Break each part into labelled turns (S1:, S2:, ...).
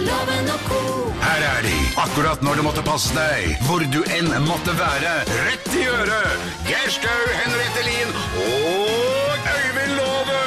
S1: Loven og ko.
S2: Her er de, akkurat når du måtte passe deg, hvor du enn måtte være. Rett i øret! Geir Skau, Henriette Lien og Øyvind Låve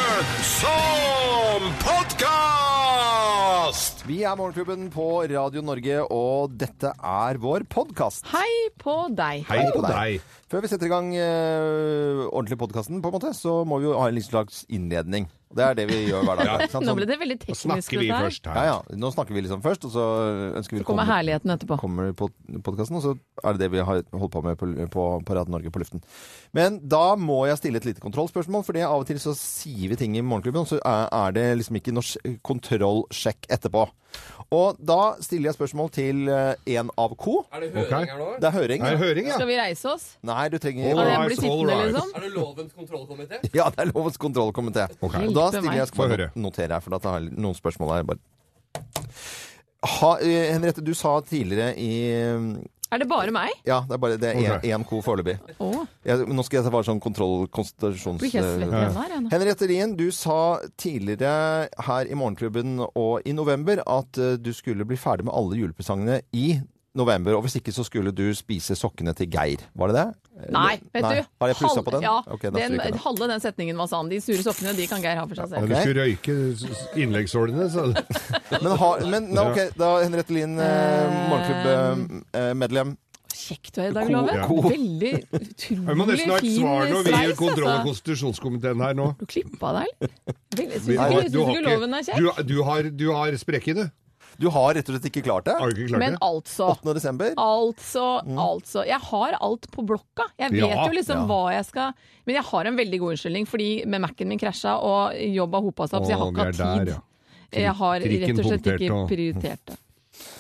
S2: som podkast!
S3: Vi er Morgenklubben på Radio Norge, og dette er vår podkast.
S4: Hei på deg.
S5: Hei på deg.
S3: Før vi setter i gang eh, ordentlig podkasten, på en måte, så må vi jo ha en liten slags innledning. Og Det er det vi gjør hver dag.
S5: Ja.
S3: ikke sant?
S4: Nå
S3: Sånn-
S4: ble det veldig
S5: Nå
S4: teknisk.
S5: snakker vi
S4: dette her.
S5: først
S3: Ja,
S5: her.
S3: ja. Nå snakker vi liksom først, og så ønsker vi
S4: Så kommer
S3: velkommen-
S4: herligheten etterpå.
S3: kommer på podkasten, og så er det det vi har holdt på med på, på, på Radio Norge på luften. Men da må jeg stille et lite kontrollspørsmål, for det av og til så sier vi ting i Morgenklubben, og så er, er det liksom ikke noe sj- kontrollsjekk etterpå. Og da stiller jeg spørsmål til eh, en av co.
S6: Er det
S5: Ok.
S6: høring her nå?
S3: Det er høring.
S5: Det er høring, ja.
S4: Skal vi reise oss?
S3: Nei, du trenger
S4: Kan jeg
S5: All right,
S4: bli
S5: all
S4: sittende,
S5: right.
S4: liksom?
S6: Er det lovens kontrollkomité?
S3: Ja, det er lovens kontrollkomité. Og da
S4: Hjelpe
S3: stiller
S4: meg.
S3: jeg
S5: Få høre.
S3: skal notere her, for da tar jeg noen spørsmål her. Bare. Ha, eh, Henriette, du sa tidligere i
S4: Er det bare meg?
S3: Ja, det er bare det er
S5: Ok.
S3: én ko foreløpig.
S4: Å,
S3: Jeg- Nå skal jeg bare sånn kontroll... konstitusjons-
S4: blir ikke jeg svett igjen her? jeg nå?
S3: Henriette Lien, du sa tidligere her i Morgenklubben og i november at eh, du skulle bli ferdig med alle julepresangene i november. Og hvis ikke så skulle du spise sokkene til Geir. Var det det?
S4: Nei,
S3: Eller-
S4: vet
S3: Nei.
S4: du.
S3: Har jeg plussa
S4: halve-
S3: på den?
S4: Ja,
S3: Ok, da
S4: den,
S3: stryker jeg den.
S4: halve den setningen var sann. De sure sokkene, de kan Geir ha for seg
S5: Men
S4: selv.
S5: du
S3: Ok.
S5: skulle røyke s- innleggshålene, så
S3: Men, har- men da, ok, da Henriette Lien, eh, Morgenklubb-medlem.
S4: Kjekt du er i dag,
S5: Ko-
S4: Love.
S5: ja.
S4: Veldig
S5: Vi
S4: utrolig
S5: må nesten ha et
S4: fin
S5: svar når vi i
S4: sveis,
S5: kontroll- og
S4: altså.
S5: konstitusjonskomiteen her nå.
S4: Du klippa deg, eller? Veldig- Syns
S5: Vi-
S4: ikke- syns
S5: du har
S4: ikke
S5: ikke-
S4: loven er
S5: Du,
S4: kjekk?
S5: du har, du har sprekk i det.
S3: Du har rett og slett ikke klart det?
S5: Har du ikke klart
S4: Men
S5: det?
S4: altså
S3: 8. desember?
S4: Altså, altså. Jeg har alt på blokka. Jeg vet
S5: Ja,
S4: jo liksom
S3: Mm. ja.
S4: hva jeg skal Men jeg har en veldig god unnskyldning, fordi med Mac-en min krasja og jobb har hopa seg opp, så altså, jeg har
S5: Å,
S4: ikke
S5: vi
S4: hatt
S5: er
S4: tid.
S5: der, ja.
S4: Jeg har
S5: Trikken
S4: rett og slett
S5: punktert
S4: ikke
S5: og-
S4: prioritert det.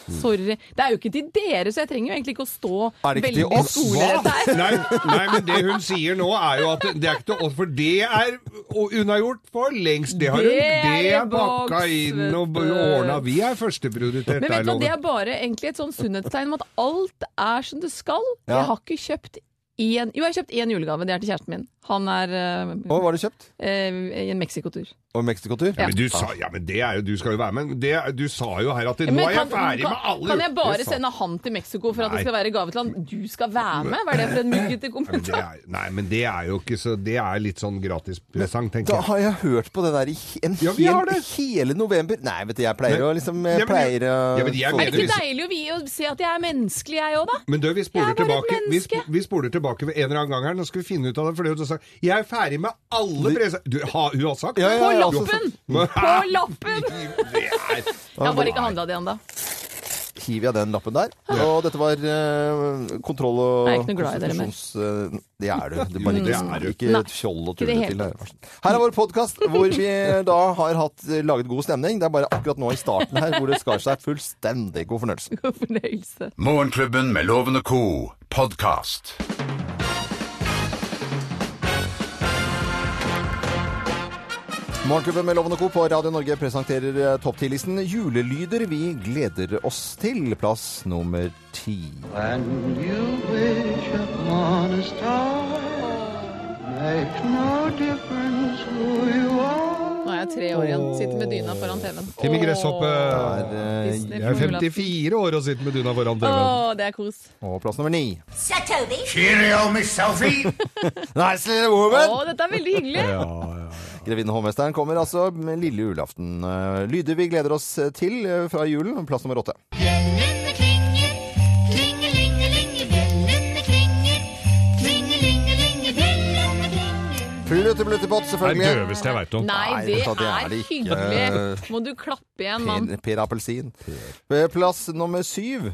S4: Sorry. Det er jo ikke til dere, så jeg trenger jo egentlig ikke å
S3: Mm.
S4: stå
S3: Er det ikke til
S4: veldig
S3: oss?
S4: solrett her.
S5: Nei, nei, men det hun sier nå er jo at det er ikke til oss, for det er o- unnagjort for lengst. Det har hun
S4: Det er
S5: det er
S4: i boks,
S5: pakka inn og
S4: vet du.
S5: ordna. Vi er førsteprioritert
S4: Men vet
S5: der,
S4: du hva, det
S5: Loven.
S4: er bare egentlig et sånn sunnhetstegn om at alt er som det skal.
S3: Ja.
S4: Jeg har ikke kjøpt én Jo, jeg har kjøpt én julegave. Det er til kjæresten min. Han er øh,
S3: Hva var det kjøpt?
S4: øh, i en Mexico-tur.
S3: Og Mexico-tur?
S5: Men du sa, ja, men det er jo, du skal jo være med. Men det, du sa jo her at det,
S4: Men
S5: nå er
S4: kan-
S5: jeg ferdig
S4: kan-
S5: med alle
S4: Kan jeg
S5: Det
S4: bare
S5: sa-
S4: sende han til Mexico for at
S5: Nei.
S4: det skal være gave til han? Du skal være med? Hva er det for en muggete
S5: Nei, men det
S4: kommentar?
S5: er, nei, men det er jo ikke så Det er litt sånn gratispresang, tenker
S3: Da
S5: jeg.
S3: har jeg hørt på det der i he- en
S5: Ja, vi har
S3: hel,
S5: det.
S3: hele november. Nei, vet du, jeg pleier å
S5: Men-
S3: liksom jeg
S5: Ja, men-
S3: pleier å
S5: Ja, men jeg
S3: få-
S4: Er det
S5: mener-
S4: ikke deilig å, vi, å se at jeg er menneskelig, jeg òg, da?
S5: Men du, vi
S4: Jeg
S5: spoler,
S4: er bare et
S5: tilbake, vi,
S4: menneske.
S5: sp- vi spoler tilbake ved en eller annen gang her. Nå skal vi finne ut av det. For det hun sa Jeg er ferdig med alle presang... Du, ha, hun har sagt
S3: Ja,
S5: det?
S3: ja,
S4: På
S3: ja, altså,
S4: lappen!
S5: Men-
S4: På lappen!
S5: Det er-
S4: Jeg har bare ikke handla det ennå.
S3: så hiver jeg den lappen der. Og dette var eh, kontroll og
S4: Jeg er ikke noe glad i dere mer.
S3: konstitusjons- eh, det er du. Det er bare
S5: Jo, Mm. det er
S3: ikke,
S5: du.
S3: ikke
S4: Nei,
S3: fjoll og
S4: ikke det
S3: tulle
S4: hele
S3: til. Her. her er vår podkast hvor vi eh, da har hatt, laget god stemning. Det er bare akkurat nå i starten her hvor det skar seg fullstendig god fornøyelse.
S4: God fornøyelse.
S2: Morgenklubben med Loven og co. podkast.
S3: Morgenklubben med Loven og Co. på Radio Norge presenterer eh, topp 10-listen julelyder vi gleder oss til. Plass nummer ti.
S7: When you wish upon a star, makes no difference who you are.
S4: Nå er jeg tre år igjen. Sitter med dyna foran TV-en.
S5: Timmy Gresshoppe.
S3: Der, eh,
S4: Disney
S5: Jeg er
S4: på julaften.
S5: 54 år og sitter med dyna foran TV-en.
S4: Å, det er kos.
S3: Og plass nummer ni.
S2: Cheerio, Miss Selfie!
S3: Nice little
S4: Å,
S3: woman!
S4: dette er veldig hyggelig.
S3: Grevinnen Hovmesteren kommer altså med lille julaften. Eh, Lyder vi gleder oss til eh, fra julen. Plass nummer åtte.
S1: Bjellene klinger, klingelingelinge, bjellene klinger, klingelingelinge, bjellene klinger.
S3: Pluttepluttepott,
S5: Det er det
S3: selvfølgelig.
S5: døveste jeg veit om.
S4: Nei,
S3: Nei,
S4: det
S3: vet du hva, det er
S4: er
S3: det ikke.
S4: hyggelig. Må du klappe igjen, mann.
S3: Per, per Appelsin. Eh, Plass nummer syv.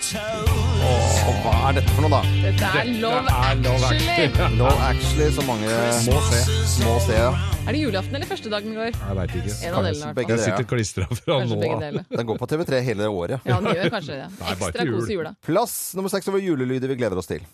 S3: Åh, hva er dette for noe, da?
S4: Dette er Love
S5: er Love
S4: Actually.
S3: Love Actually, så mange
S5: Må se.
S3: må se. ja.
S4: Er det julaften eller første dagen går?
S5: Jeg veit ikke.
S4: En av delene, i hvert fall.
S3: Begge
S5: Jeg
S3: deler.
S5: sitter klistra fra
S4: Kanskje
S5: nå
S4: begge
S5: av.
S4: deler.
S3: Den går på TV3 hele året.
S4: Ja, den gjør kanskje det.
S5: Nei, bare
S4: Ekstra
S5: til
S4: kos i
S5: jul.
S4: jula.
S3: Plass nummer seks over julelyder vi gleder oss til.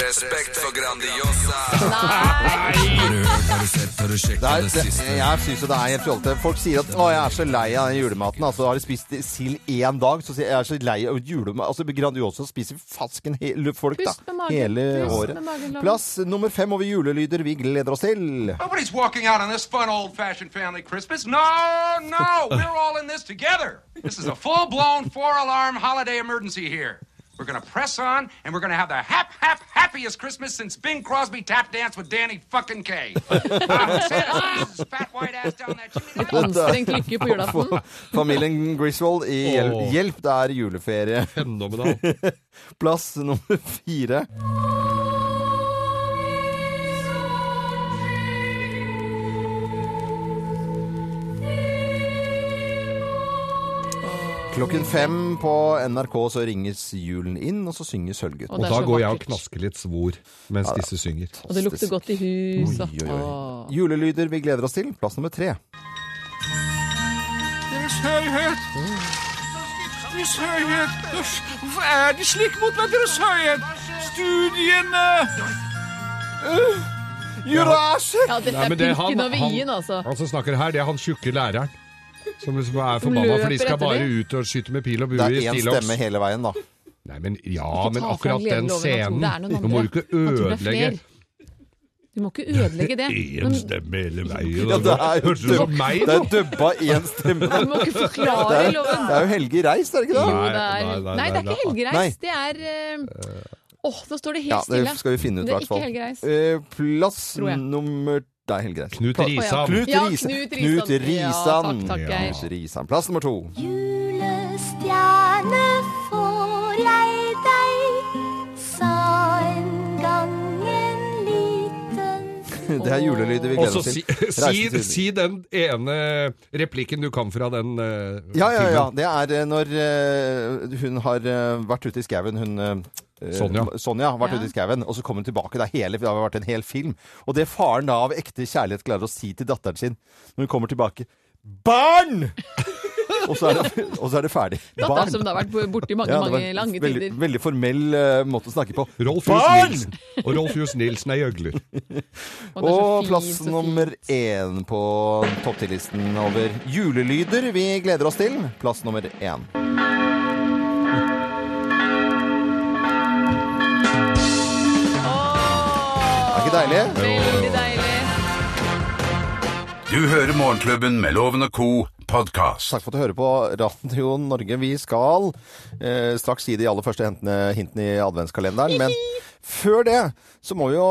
S6: Respekt for Grandiosa.
S4: Nei!
S6: Har du hørt, har du sett, har du
S3: Det er,
S6: sjekket det
S3: det,
S6: siste?
S3: jeg synes jo det er helt fjolte. Folk sier at 'Å, jeg er så lei av den julematen'. Altså, har de spist sild én dag, så sier jeg 'jeg er så lei av julemat'. Altså, Grandiosa spiser fasken he folk, da.
S4: Pust med magen.
S3: Hele
S4: Pust med
S3: året.
S4: magen, Loven.
S3: Plass nummer fem over julelyder vi gleder oss til.
S8: Nobody's walking out on this fun, old fashioned family Christmas. No, no, we're all in this together. This is a full blown four alarm holiday emergency here. We're going to press on, and we're going to have the hap, hap, happiest Christmas since Bing Crosby tap danced with Danny fucking K. uh, Santa Claus' fat white ass down that chimney.
S4: Litt anstrengt lykke på julaften.
S3: Familien Griswold i Hjel-
S5: Åh.
S3: Hjelp, det er juleferie.
S5: Fenomenal.
S3: Plass nummer fire. Klokken fem på NRK så ringes julen inn, og så synger Sølvgutten.
S4: Og
S5: Og
S4: det er
S5: da
S4: så
S5: går jeg og
S4: vakkert.
S5: knasker litt svor mens disse synger.
S4: Og det lukter godt i huset. Åh.
S3: Julelyder vi gleder oss til. Plass nummer tre.
S8: Deres høyhet! Deres høyhet! Hvorfor er de slik mot meg, Deres høyhet? Studiene
S4: Ja, dette
S5: Nei,
S4: er
S5: men det- han-
S4: pirken over
S5: han-
S4: i-en, altså.
S5: Han som snakker her, det er han tjukke læreren. Som liksom er
S4: Som
S5: forbanna,
S4: løper
S5: for de skal
S4: etter
S5: bare
S4: de.
S5: ut og skyte med pil og
S3: Det
S5: bue i
S3: er én
S5: stillongs.
S3: stemme hele veien, da.
S5: Nei, men ja,
S4: Ikke
S5: men
S4: ta fra
S5: akkurat
S4: Glenn
S5: den
S4: Loven, han tror
S5: scenen
S4: det er noen
S5: Nå må du
S4: andre.
S5: ikke
S4: Han tror det er
S5: ødelegge
S4: flere. Du må ikke ødelegge det.
S5: én
S4: Men
S5: stemme hele veien.
S3: Ja, det er jo
S5: Hørte du på meg,
S3: det
S5: da?
S3: er dubba én stemme.
S4: du må ikke
S3: Det
S4: forklare
S3: er,
S4: loven.
S3: det er jo Helge Reist, er det ikke
S4: Jo,
S3: det?
S5: Nei,
S4: det er
S5: nei, nei,
S4: Nei, det er
S5: nei,
S4: ikke
S3: nei.
S4: helgereis. Det er eh, Åh, nå står det
S3: Ja,
S4: helt
S3: det
S4: stille.
S3: skal vi finne ut, i
S4: Det er
S3: hvert fall.
S4: ikke Helge Reis.
S3: Eh, plass
S4: Tror jeg.
S3: nummer Det er Helge Reis.
S5: Knut
S3: Pla-
S4: Å, ja.
S5: Risan.
S3: Knut
S4: Ja,
S3: Risan.
S4: Knut Risan.
S3: Knut Risan.
S4: Ja, takk, takk, Geir.
S3: Knut Risan. Plass nummer to.
S1: Julestjerne får jeg deg, sa en gang en liten
S3: Det er julelyder vi
S5: Og
S3: gleder
S5: så
S3: oss
S5: si,
S3: til.
S5: si,
S3: Reisen til-
S5: si den ene replikken du kan fra den eh,
S3: Ja, ja, ja.
S5: filmen.
S3: Det er eh, når eh, hun har eh, vært ute i skauen, hun eh,
S5: Sonja.
S3: Sonja har vært
S4: Ja.
S3: ute i skauen, og så kommer hun tilbake. Det, er hele, det har vært en hel film. Og det faren da av ekte kjærlighet klarer å si til datteren sin når hun kommer tilbake Barn! og, så er det, og så er det ferdig.
S4: Datter som det har vært borti mange,
S3: Ja, det var
S4: mange lange
S3: veldig,
S4: tider.
S3: Veldig formell eh, måte å snakke på.
S5: Rolf Johs
S3: Barn!
S5: Nilsen. Og Rolf Johs Nilsen er gjøgler.
S4: Og det er så
S3: Og
S4: fint,
S3: plass
S4: så fint.
S3: nummer én på topp 10-listen over julelyder vi gleder oss til. Plass nummer én. Er ikke deilig?
S4: Veldig deilig.
S2: Du hører Morgenklubben med Loven og Co. podkast.
S3: Takk for at du hører på Radio Norge. Vi skal eh, straks si de aller første hentene, hintene i adventskalenderen. Men før det så må vi jo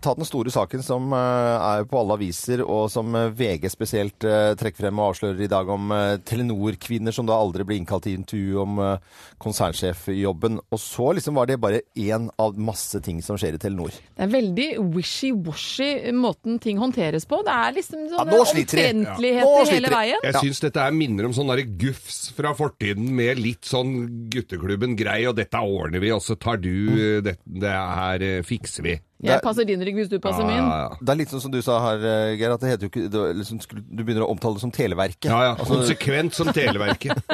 S3: ta den store saken som eh, er på alle aviser, og som eh, VG spesielt eh, trekker frem og avslører i dag om eh, Telenor-kvinner som da aldri ble innkalt til intervju om eh, konsernsjefjobben. Og så liksom var det bare én av masse ting som skjer i Telenor.
S4: Det er veldig wishy-washy måten ting håndteres på. Det er liksom sånne
S3: nå sliter de. Ja. Nå
S4: omtrentligheter
S3: sliter
S4: hele
S3: de.
S4: veien.
S5: Jeg syns dette er minner om sånn derre gufs fra fortiden med litt sånn gutteklubben-grei, og dette ordner vi, og så tar du eh, det, det her eh, fikser vi.
S4: Jeg passer din rygg hvis du passer min.
S5: ja,
S3: Det er litt sånn som du sa her, eh, Geir, at det heter jo ikke det var liksom, skulle- Du begynner å omtale det som Televerket. Altså,
S5: Ja, ja. Konsekvent som Televerket.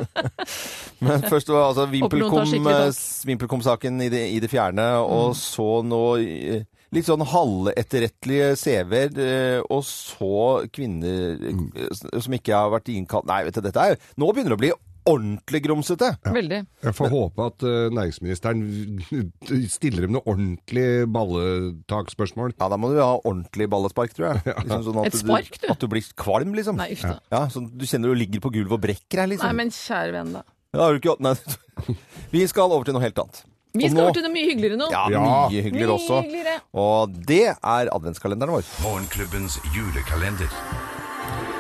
S3: Men først var altså
S4: Håper noen tar
S3: Vimpelcom,
S4: skikkelig Mm. tak.
S3: eh, s- Vimpelcom-saken i, det- i det fjerne, og så nå eh, litt sånn halvetterrettelige CV-er, eh, og så kvinner eh, s- som ikke har vært innkalt Nei, vet du, dette er jo Nå begynner det å bli ordentlig grumsete.
S4: Veldig.
S5: Jeg får håpe at eh, næringsministeren stiller dem noe ordentlig balletaksspørsmål.
S3: Ja, da må du ha ordentlig ballespark, tror jeg. Liksom sånn at
S4: Et spark, du.
S3: At du blir kvalm, liksom.
S4: Nei, uff da.
S3: Ja, sånn, du kjenner du ligger på gulvet og brekker deg, liksom.
S4: Nei, men kjære venn, da.
S3: ja, har du ikke, nei. Vi skal over til noe helt annet. Og
S4: Vi skal
S3: nå-
S4: over til noe mye hyggeligere nå.
S3: Ja,
S5: Ja.
S3: mye hyggeligere
S4: Mye
S3: også.
S4: hyggeligere.
S3: Og det er adventskalenderen vår.
S2: Morgenklubbens julekalender.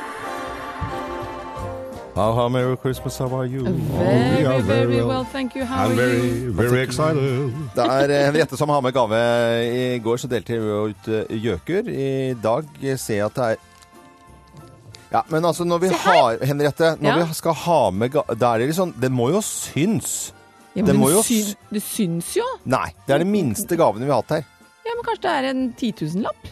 S3: How, how merry Christmas, how are you?
S5: we
S4: Very,
S5: are Oh, very
S4: very
S5: well.
S4: well, thank you. How are you?
S5: very excited.
S3: Det er eh, Henriette som har med gave. I går så delte vi jo ut eh, gjøker. I dag eh, ser jeg at det er ja, men altså når vi har, Henriette, når
S4: Ja.
S3: vi skal ha med ga Da er det litt sånn Det må jo syns.
S4: Ja, men
S3: Det må jo
S4: syn-
S3: s-
S4: Det syns jo.
S3: Nei. Det er de minste gavene vi har hatt her.
S4: Ja, men kanskje det er en titusenlapp?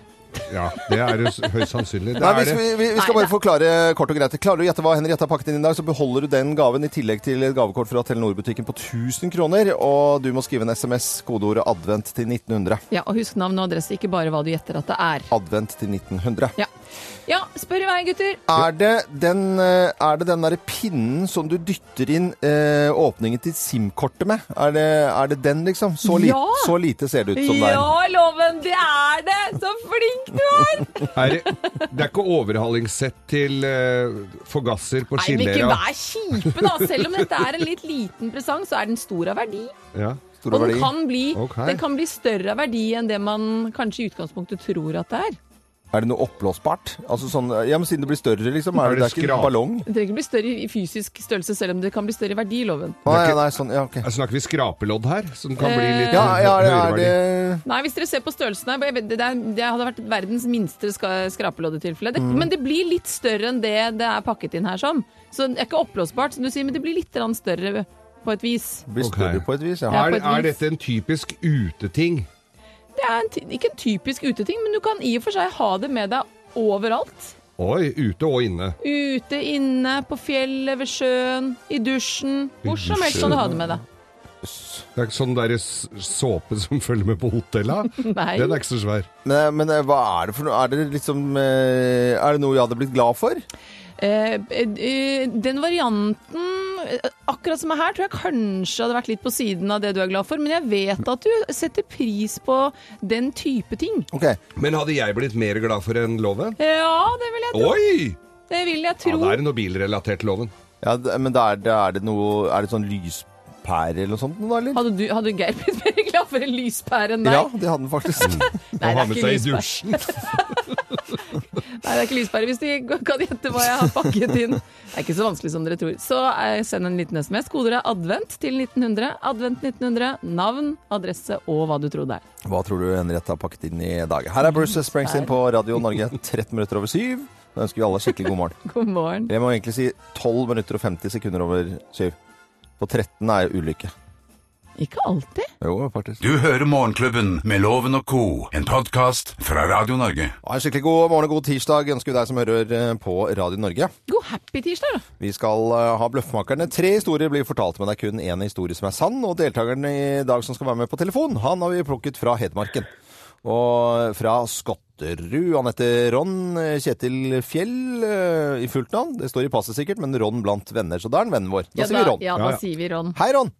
S5: Ja, det er jo s- høyst sannsynlig. Det
S3: Nei,
S5: er
S3: vi,
S5: det.
S3: vi, vi skal bare forklare kort og greit. Klarer du å gjette hva Henriette har pakket inn i dag, så beholder du den gaven i tillegg til et gavekort fra Telenor-butikken på 1000 kroner. Og du må skrive en SMS, kodeordet 'advent' til 1900.
S4: Ja, og husk navn og adresse, ikke bare hva du gjetter at det er.
S3: Advent til 1900.
S4: Ja, ja spør i vei, gutter.
S3: Er det den, eh, er det den derre pinnen som du dytter inn eh, åpningen til SIM-kortet med? Er det, er det den, liksom? Så, li
S4: Ja.
S3: så lite ser det ut som det er.
S4: Ja, Loven, det er det! Så flink du er!
S5: Er det, det er ikke overhalingssett til eh, forgasser på
S4: Nei, men ikke
S5: Skillera.
S4: vær kjipe, da. Selv om dette er en litt liten presang, så er den stor av verdi.
S5: Ja.
S3: Store
S4: Og den
S3: verdier.
S4: kan, bli,
S5: Ok.
S4: den kan bli større av verdi enn det man kanskje i utgangspunktet tror at det er.
S3: Er det noe oppblåsbart? Altså sånn, ja, men siden det blir større, liksom. Er,
S5: Er
S3: det, det er
S5: det
S3: ikke en
S5: skrap?
S3: ballong?
S4: Det trenger ikke bli større i fysisk størrelse, selv om det kan bli større i verdi, Loven.
S3: Å, ja,
S5: ikke-
S3: nei, sånn, ja, ok.
S5: Jeg Eh, snakker vi skrapelodd her, som kan bli
S4: Eh,
S5: litt
S3: Ja, ja,
S5: hø-
S3: det er
S5: høyere
S3: det
S5: verdi.
S4: Nei, hvis dere ser på størrelsen her, jeg vet- det, er- det hadde vært verdens minste ska- skrapeloddetilfelle. Det, Men det blir litt større enn det det er pakket inn her som. Så det er ikke oppblåsbart, som du sier, men det blir litt grann større på et vis.
S3: blir
S5: Ok.
S3: større på et vis, ja.
S4: Ja.
S5: Er,
S4: på et vis.
S5: er dette en typisk uteting?
S4: Det er en, ty- ikke en typisk uteting, men du kan i og for seg ha det med deg overalt.
S5: Oi, ute og inne.
S4: Ute, inne, på fjellet, ved sjøen, i dusjen. Hvor som helst kan du ha det med deg.
S5: Det er ikke sånn der s- såpe som følger med på hotella.
S4: Nei.
S5: Den er ikke så svær.
S3: Men, men eh, hva er det for noe? Er det liksom eh, Er det noe jeg hadde blitt glad for?
S4: Eh, eh, den varianten eh, Akkurat som er her, tror jeg kanskje hadde vært litt på siden av det du er glad for. Men jeg vet at du setter pris på den type ting.
S3: Ok.
S5: Men hadde jeg blitt mer glad for en loven?
S4: Ja, det vil jeg tro.
S5: Oi!
S4: Det vil jeg
S5: Ja,
S4: tro.
S5: det er noe bilrelatert loven.
S3: Ja, d- men da er det, er det noe Er det sånn lyspære eller noe sånt, da, eller?
S4: Hadde, du, hadde Geir blitt mer glad for en lyspære enn deg?
S3: Ja, det hadde den faktisk.
S4: Nei,
S5: Å
S4: det
S5: ha
S4: er
S5: med
S4: ikke
S5: seg i
S4: lyspære.
S5: dusjen.
S4: Nei, det er ikke lyspære. Hvis de kan gjette hva jeg har pakket inn. Det er ikke så vanskelig som dere tror. Så eh, send en liten SMS. Koder er advent til 1900. Advent 1900. Navn, adresse og hva du tror det er.
S3: Hva tror du Henriette har pakket inn i dag? Her er Bruce Springsteen på Radio Norge 13 minutter over syv. Da ønsker vi alle skikkelig god morgen.
S4: God morgen.
S3: Jeg må egentlig si 12 minutter og 50 sekunder over syv. På 13 er jo ulykke.
S4: Ikke alltid.
S3: Jo, faktisk.
S2: Du hører Morgenklubben med Loven og Co., en podkast fra Radio Norge.
S3: Ha en skikkelig god morgen og god tirsdag ønsker vi deg som hører eh, på Radio Norge.
S4: God happy tirsdag, da.
S3: Vi skal eh, ha Bløffmakerne. Tre historier blir fortalt, men det er kun én historie som er sann. Og deltakeren i dag som skal være med på telefon, han har vi plukket fra Hedmarken. Og fra Skotterud. Han heter Ron eh, Kjetil Fjell eh, i fullt navn. Det står i passet sikkert, men Ron blant venner. Så da er han vennen vår. Da sier vi Ron.
S4: Ja,
S5: Ja,
S4: da
S5: ja.
S4: sier vi Ron.
S3: Hei, Ron!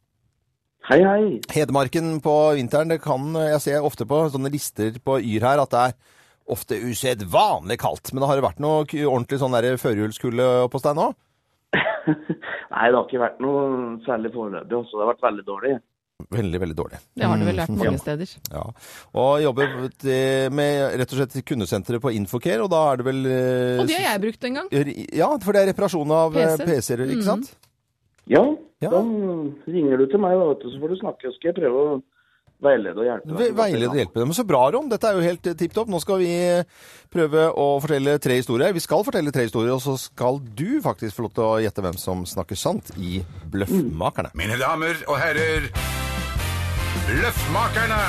S9: Hei, hei.
S3: Hedmarken på vinteren, det kan eh, jeg ser ofte på sånne lister på Yr her at det er ofte usedvanlig kaldt. Men det har det vært noe k- ordentlig sånn der førjulskulde oppe hos deg nå?
S9: Nei, det har ikke vært noe særlig foreløpig. Også. Det har vært veldig dårlig.
S3: Veldig, veldig dårlig.
S4: Det har det vel vært mange steder.
S3: Mm, Ja, og jobber eh, med rett og slett kundesenteret på Infocare, og da er det vel eh,
S4: Og det har jeg brukt en gang.
S3: Ja, for det er reparasjon av eh,
S4: PC.
S3: PC-er, ikke sant?
S9: Ja,
S3: Ja.
S9: da ringer du til meg, da, vet du, så får du snakke. Så skal jeg prøve å veilede og hjelpe
S3: Ve- Veilede og hjelpe dem. Så bra, Ron. Dette er jo helt tipp topp. Nå skal vi eh, prøve å fortelle tre historier. Vi skal fortelle tre historier, og så skal du faktisk få lov til å gjette hvem som snakker sant i
S4: Mm.
S3: Bløffmakerne.
S2: Mine damer og herrer, Løffmakerne!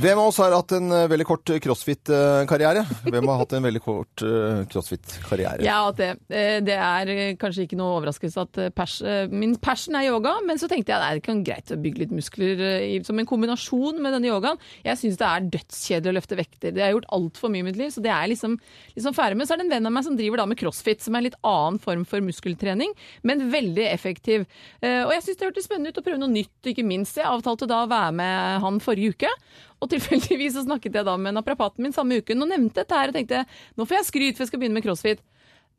S3: Hvem av oss har hatt en eh, veldig kort crossfit-karriere? Hvem har hatt en veldig kort eh, crossfit-karriere?
S4: Ja, at det, eh, det er eh, kanskje ikke noe overraskelse at eh, pers, eh, min passion er yoga, men så tenkte jeg det er ikke greit å bygge litt muskler eh, i- som en kombinasjon med denne yogaen. Jeg syns det er dødskjedelig å løfte vekter. Det har jeg gjort altfor mye i mitt liv, så det er liksom, liksom ferdig med. Så er det en venn av meg som driver da med crossfit, som er en litt annen form for muskeltrening, men veldig effektiv. Eh, Og jeg syns det hørtes spennende ut å prøve noe nytt, ikke minst. Jeg avtalte da å være med han forrige uke. Og tilfeldigvis så snakket jeg da med naprapaten min samme uken og nevnte dette her og tenkte nå får jeg skryt, for jeg skal begynne med crossfit.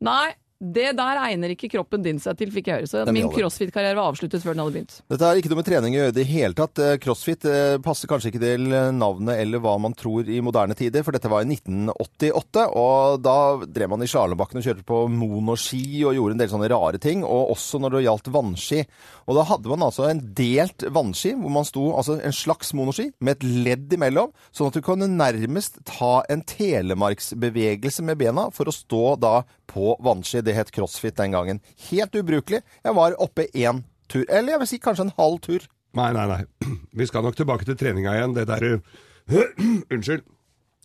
S4: Nei, det der egner ikke kroppen din seg til, fikk jeg høre. Så
S3: Den
S4: min
S3: gjør det.
S4: crossfit-karriere var avsluttet før den hadde begynt.
S3: Dette har ikke noe med trening å gjøre i det hele tatt. Eh, Crossfit eh, passer kanskje ikke til eh, navnet eller hva man tror i moderne tider, for dette var i 1988, og da drev man i Slalåmbakken og kjørte på monoski og gjorde en del sånne rare ting, og også når det gjaldt vannski. Og da hadde man altså en delt vannski, hvor man sto altså en slags monoski med et ledd imellom, sånn at du kunne nærmest ta en telemarksbevegelse med bena for å stå da på vannski. Det het crossfit den gangen. Helt ubrukelig. Jeg var oppe én tur. Eller jeg vil si kanskje en halv tur.
S5: Nei, nei, nei. Vi skal nok tilbake til treninga igjen. Det der eh, Unnskyld.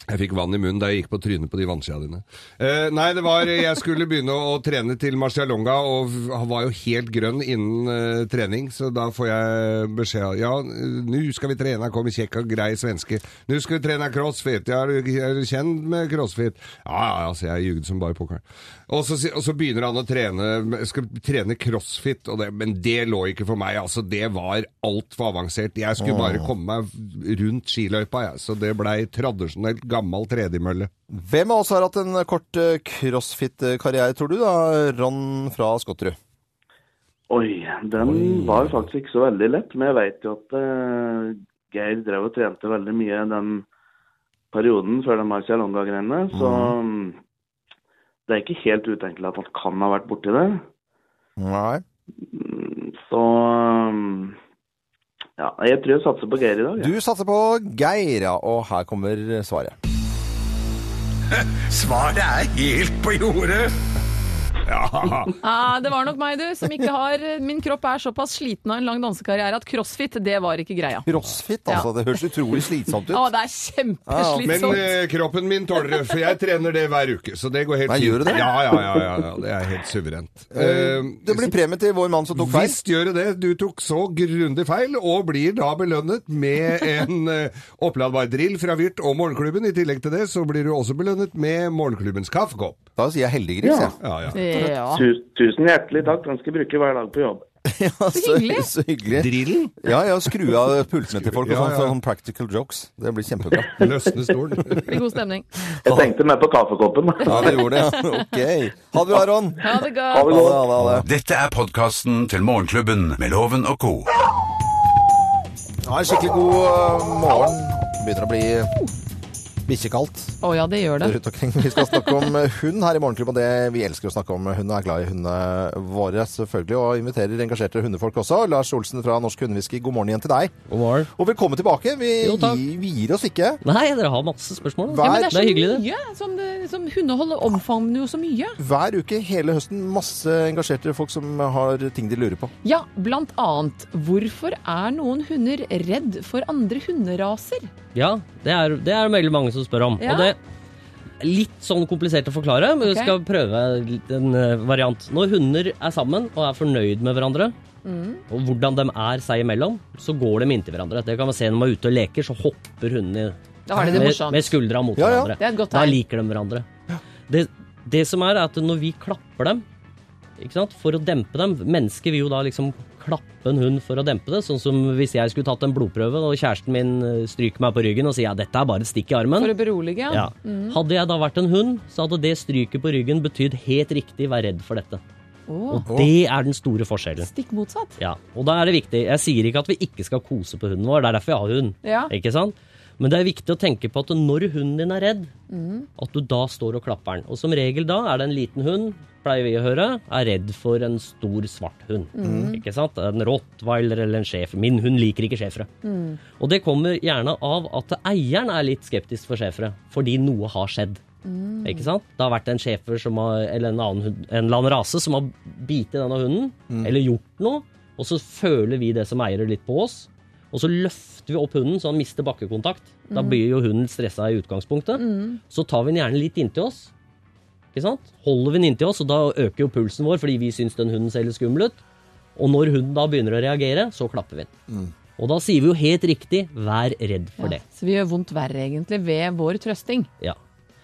S5: Jeg fikk vann i munnen da jeg gikk på trynet på de vannskia dine. Eh, nei, det var Jeg skulle begynne å trene til Marcialonga, og han var jo helt grønn innen eh, trening, så da får jeg beskjed av Ja, nå skal vi trene, kommer kjekk og grei svenske. Nå skal vi trene crossfit. Jeg er, jeg er kjent med crossfit. Ja, ja, ja, så jeg ljugde som bare pokkeren. Og, så si- og så begynner han å trene Skal trene crossfit, og det, men det lå ikke for meg. Altså, det var altfor avansert. Jeg skulle bare komme meg rundt skiløypa, jeg. Så det blei tradisjonelt gammel tredemølle.
S3: Hvem av oss har hatt en kort eh, crossfit-karriere, tror du da, Ron fra Skotterud?
S9: Oi, den var jo faktisk ikke så veldig lett, men jeg vet jo at eh, Geir drev og trente veldig mye den perioden før den Marcialonga-greiene,
S3: Mhm.
S9: så mm, det er ikke helt utenkelig at han kan ha vært borti det.
S3: Nei.
S9: Mm, Så mm, ja, jeg tror jeg satser på Geir i dag.
S3: Du
S9: jeg.
S3: satser på Geir, ja, og her kommer svaret.
S2: Svaret er helt på jordet.
S5: Ja,
S4: Ah, det var nok meg, du, som ikke har Min kropp er såpass sliten av en lang dansekarriere at crossfit, det var ikke greia.
S3: Crossfit, altså. Det høres utrolig slitsomt
S4: Å,
S3: ut.
S4: det er
S5: men
S4: kjempeslitsomt.
S5: eh, kroppen min tåler det, for jeg trener det hver uke. Så det går helt
S3: Nei,
S5: fint.
S3: gjør du det? Eh,
S5: Ja, ja, ja, ja, ja, det er helt suverent. Eh,
S3: Det blir premie til vår mann som tok feil.
S5: Visst gjør det det. Du tok så grundig feil, og blir da belønnet med en eh, oppladbar drill fra Vyrt og Morgenklubben. I tillegg til det så blir du også belønnet med Morgenklubbens kaffekopp.
S3: Da sier jeg heldiggris, jeg.
S5: Ja, ja.
S4: Ja.
S9: Tu- Tusen hjertelig takk, den skal jeg bruke hver dag på jobb.
S3: Ja, så
S4: hyggelig.
S3: Så hyggelig.
S5: Drillen
S3: Ja, ja, skru av pultene til folk og
S5: Ja,
S3: sånn,
S5: ja.
S3: sånn practical jokes. Det blir kjempebra.
S5: løsner stolen.
S4: Det blir god stemning.
S9: Jeg tenkte mer på kaffekoppen. da.
S3: Ja, det gjorde det. ja. Ok. Ha det bra, Ron.
S4: Ha det
S9: Ha
S4: godt.
S3: Ha det,
S9: det godt.
S3: ha det, ha det.
S2: Dette er podkasten til Morgenklubben med Loven og co.
S3: Ja, en skikkelig god øh, morgen. Begynner å bli bikkjekaldt
S4: Å ja, det gjør det.
S3: rundt omkring. Vi skal snakke om eh, hund her i Morgenklubben. og Det vi elsker å snakke om hund, og er glad i hundene våre, selvfølgelig. Og inviterer engasjerte hundefolk også. Lars Olsen fra Norsk Hundewhisky, god morgen igjen til deg.
S10: God morgen.
S3: Og velkommen tilbake. Vi,
S10: Jo, takk.
S3: gi- vi gir oss ikke.
S10: Nei, dere har masse spørsmål. altså.
S3: Hver-
S4: Ja, men det er så
S10: da. Det er hyggelig, det.
S4: mye som, det, som hundehold omfavner jo så mye.
S3: Hver uke hele høsten masse engasjerte folk som har ting de lurer på.
S4: Ja, blant annet hvorfor er noen hunder redd for andre hunderaser?
S10: Ja, det er det er veldig mange som spør om.
S4: Ja.
S10: Og det er litt sånn komplisert å forklare, men
S4: Ok.
S10: vi skal prøve en eh, variant. Når hunder er sammen og er fornøyd med hverandre, og hvordan de er seg imellom, så går de inntil hverandre. Det kan man se når man er ute og leker, så hopper hundene
S4: Da har de det
S10: med,
S4: morsomt.
S10: med skuldra mot
S3: Ja, ja.
S10: hverandre.
S4: Det er et godt
S10: Da
S4: tegn.
S10: liker de hverandre. Det, det som er, er at når vi klapper dem ikke sant? For å dempe dem Mennesker vil jo da liksom klappe en hund for å dempe det. Sånn som hvis jeg skulle tatt en blodprøve, og kjæresten min eh, stryker meg på ryggen og sier ja, dette er bare et stikk i armen.
S4: For å Mm. berolige.
S10: Ja. Hadde jeg da vært en hund, så hadde det stryket på ryggen betydd helt riktig vær redd for dette.
S4: Å,
S10: Og det er den store forskjellen.
S4: stikk motsatt.
S10: Ja, og da er det viktig. Jeg sier ikke at vi ikke skal kose på hunden vår, det er derfor jeg har hund.
S4: Ja.
S10: Ikke sant? Men det er viktig å tenke på at når hunden din er redd, at du da står og klapper den. Og som regel da er det en liten hund, pleier vi å høre, er redd for en stor svart hund. Ikke sant? En rottweiler eller en schæfer. Min hund liker ikke schæfere. Og det kommer gjerne av at eieren er litt skeptisk for schæfere, fordi noe har skjedd. Mm. Ikke sant? Det har vært en schæfer som har, eller en annen, hund, en eller annen rase som har bitt i denne hunden, eller gjort noe, og så føler vi det som eiere litt på oss, og så løfter vi opp hunden så han mister bakkekontakt. Da blir jo hunden stressa i utgangspunktet. Så tar vi den gjerne litt inntil oss, ikke sant? Holder vi den inntil oss, og da øker jo pulsen vår fordi vi syns den hunden ser litt skummel ut. Og når hunden da begynner å reagere, så klapper vi den. Og da sier vi jo helt riktig 'vær redd for det'.
S4: Så vi gjør vondt verre, egentlig, ved vår trøsting.
S10: Ja.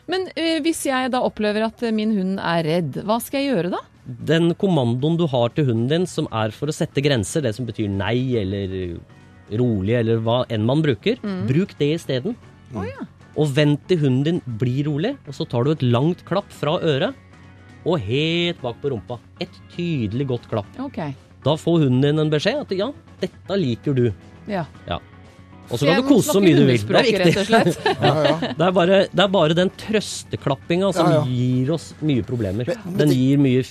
S4: Men eh, hvis jeg da opplever at eh, min hund er redd, hva skal jeg gjøre da?
S10: den kommandoen du har til hunden din som er for å sette grenser, det som betyr nei eller rolig eller hva enn man bruker,
S4: Mm.
S10: bruk det isteden. Og vent til hunden din blir rolig, og så tar du et langt klapp fra øret og helt bak på rumpa. Et tydelig godt klapp.
S4: Ok,
S10: Da får hunden din en beskjed at ja, dette liker du.
S4: ja.
S10: Ja. Og så kan du kose så mye du vil. Det er
S4: Rett og
S10: viktig.
S4: slett.
S10: Det er bare, det er bare den trøsteklappinga som
S3: Ja, ja.
S10: gir oss mye problemer. den gir mye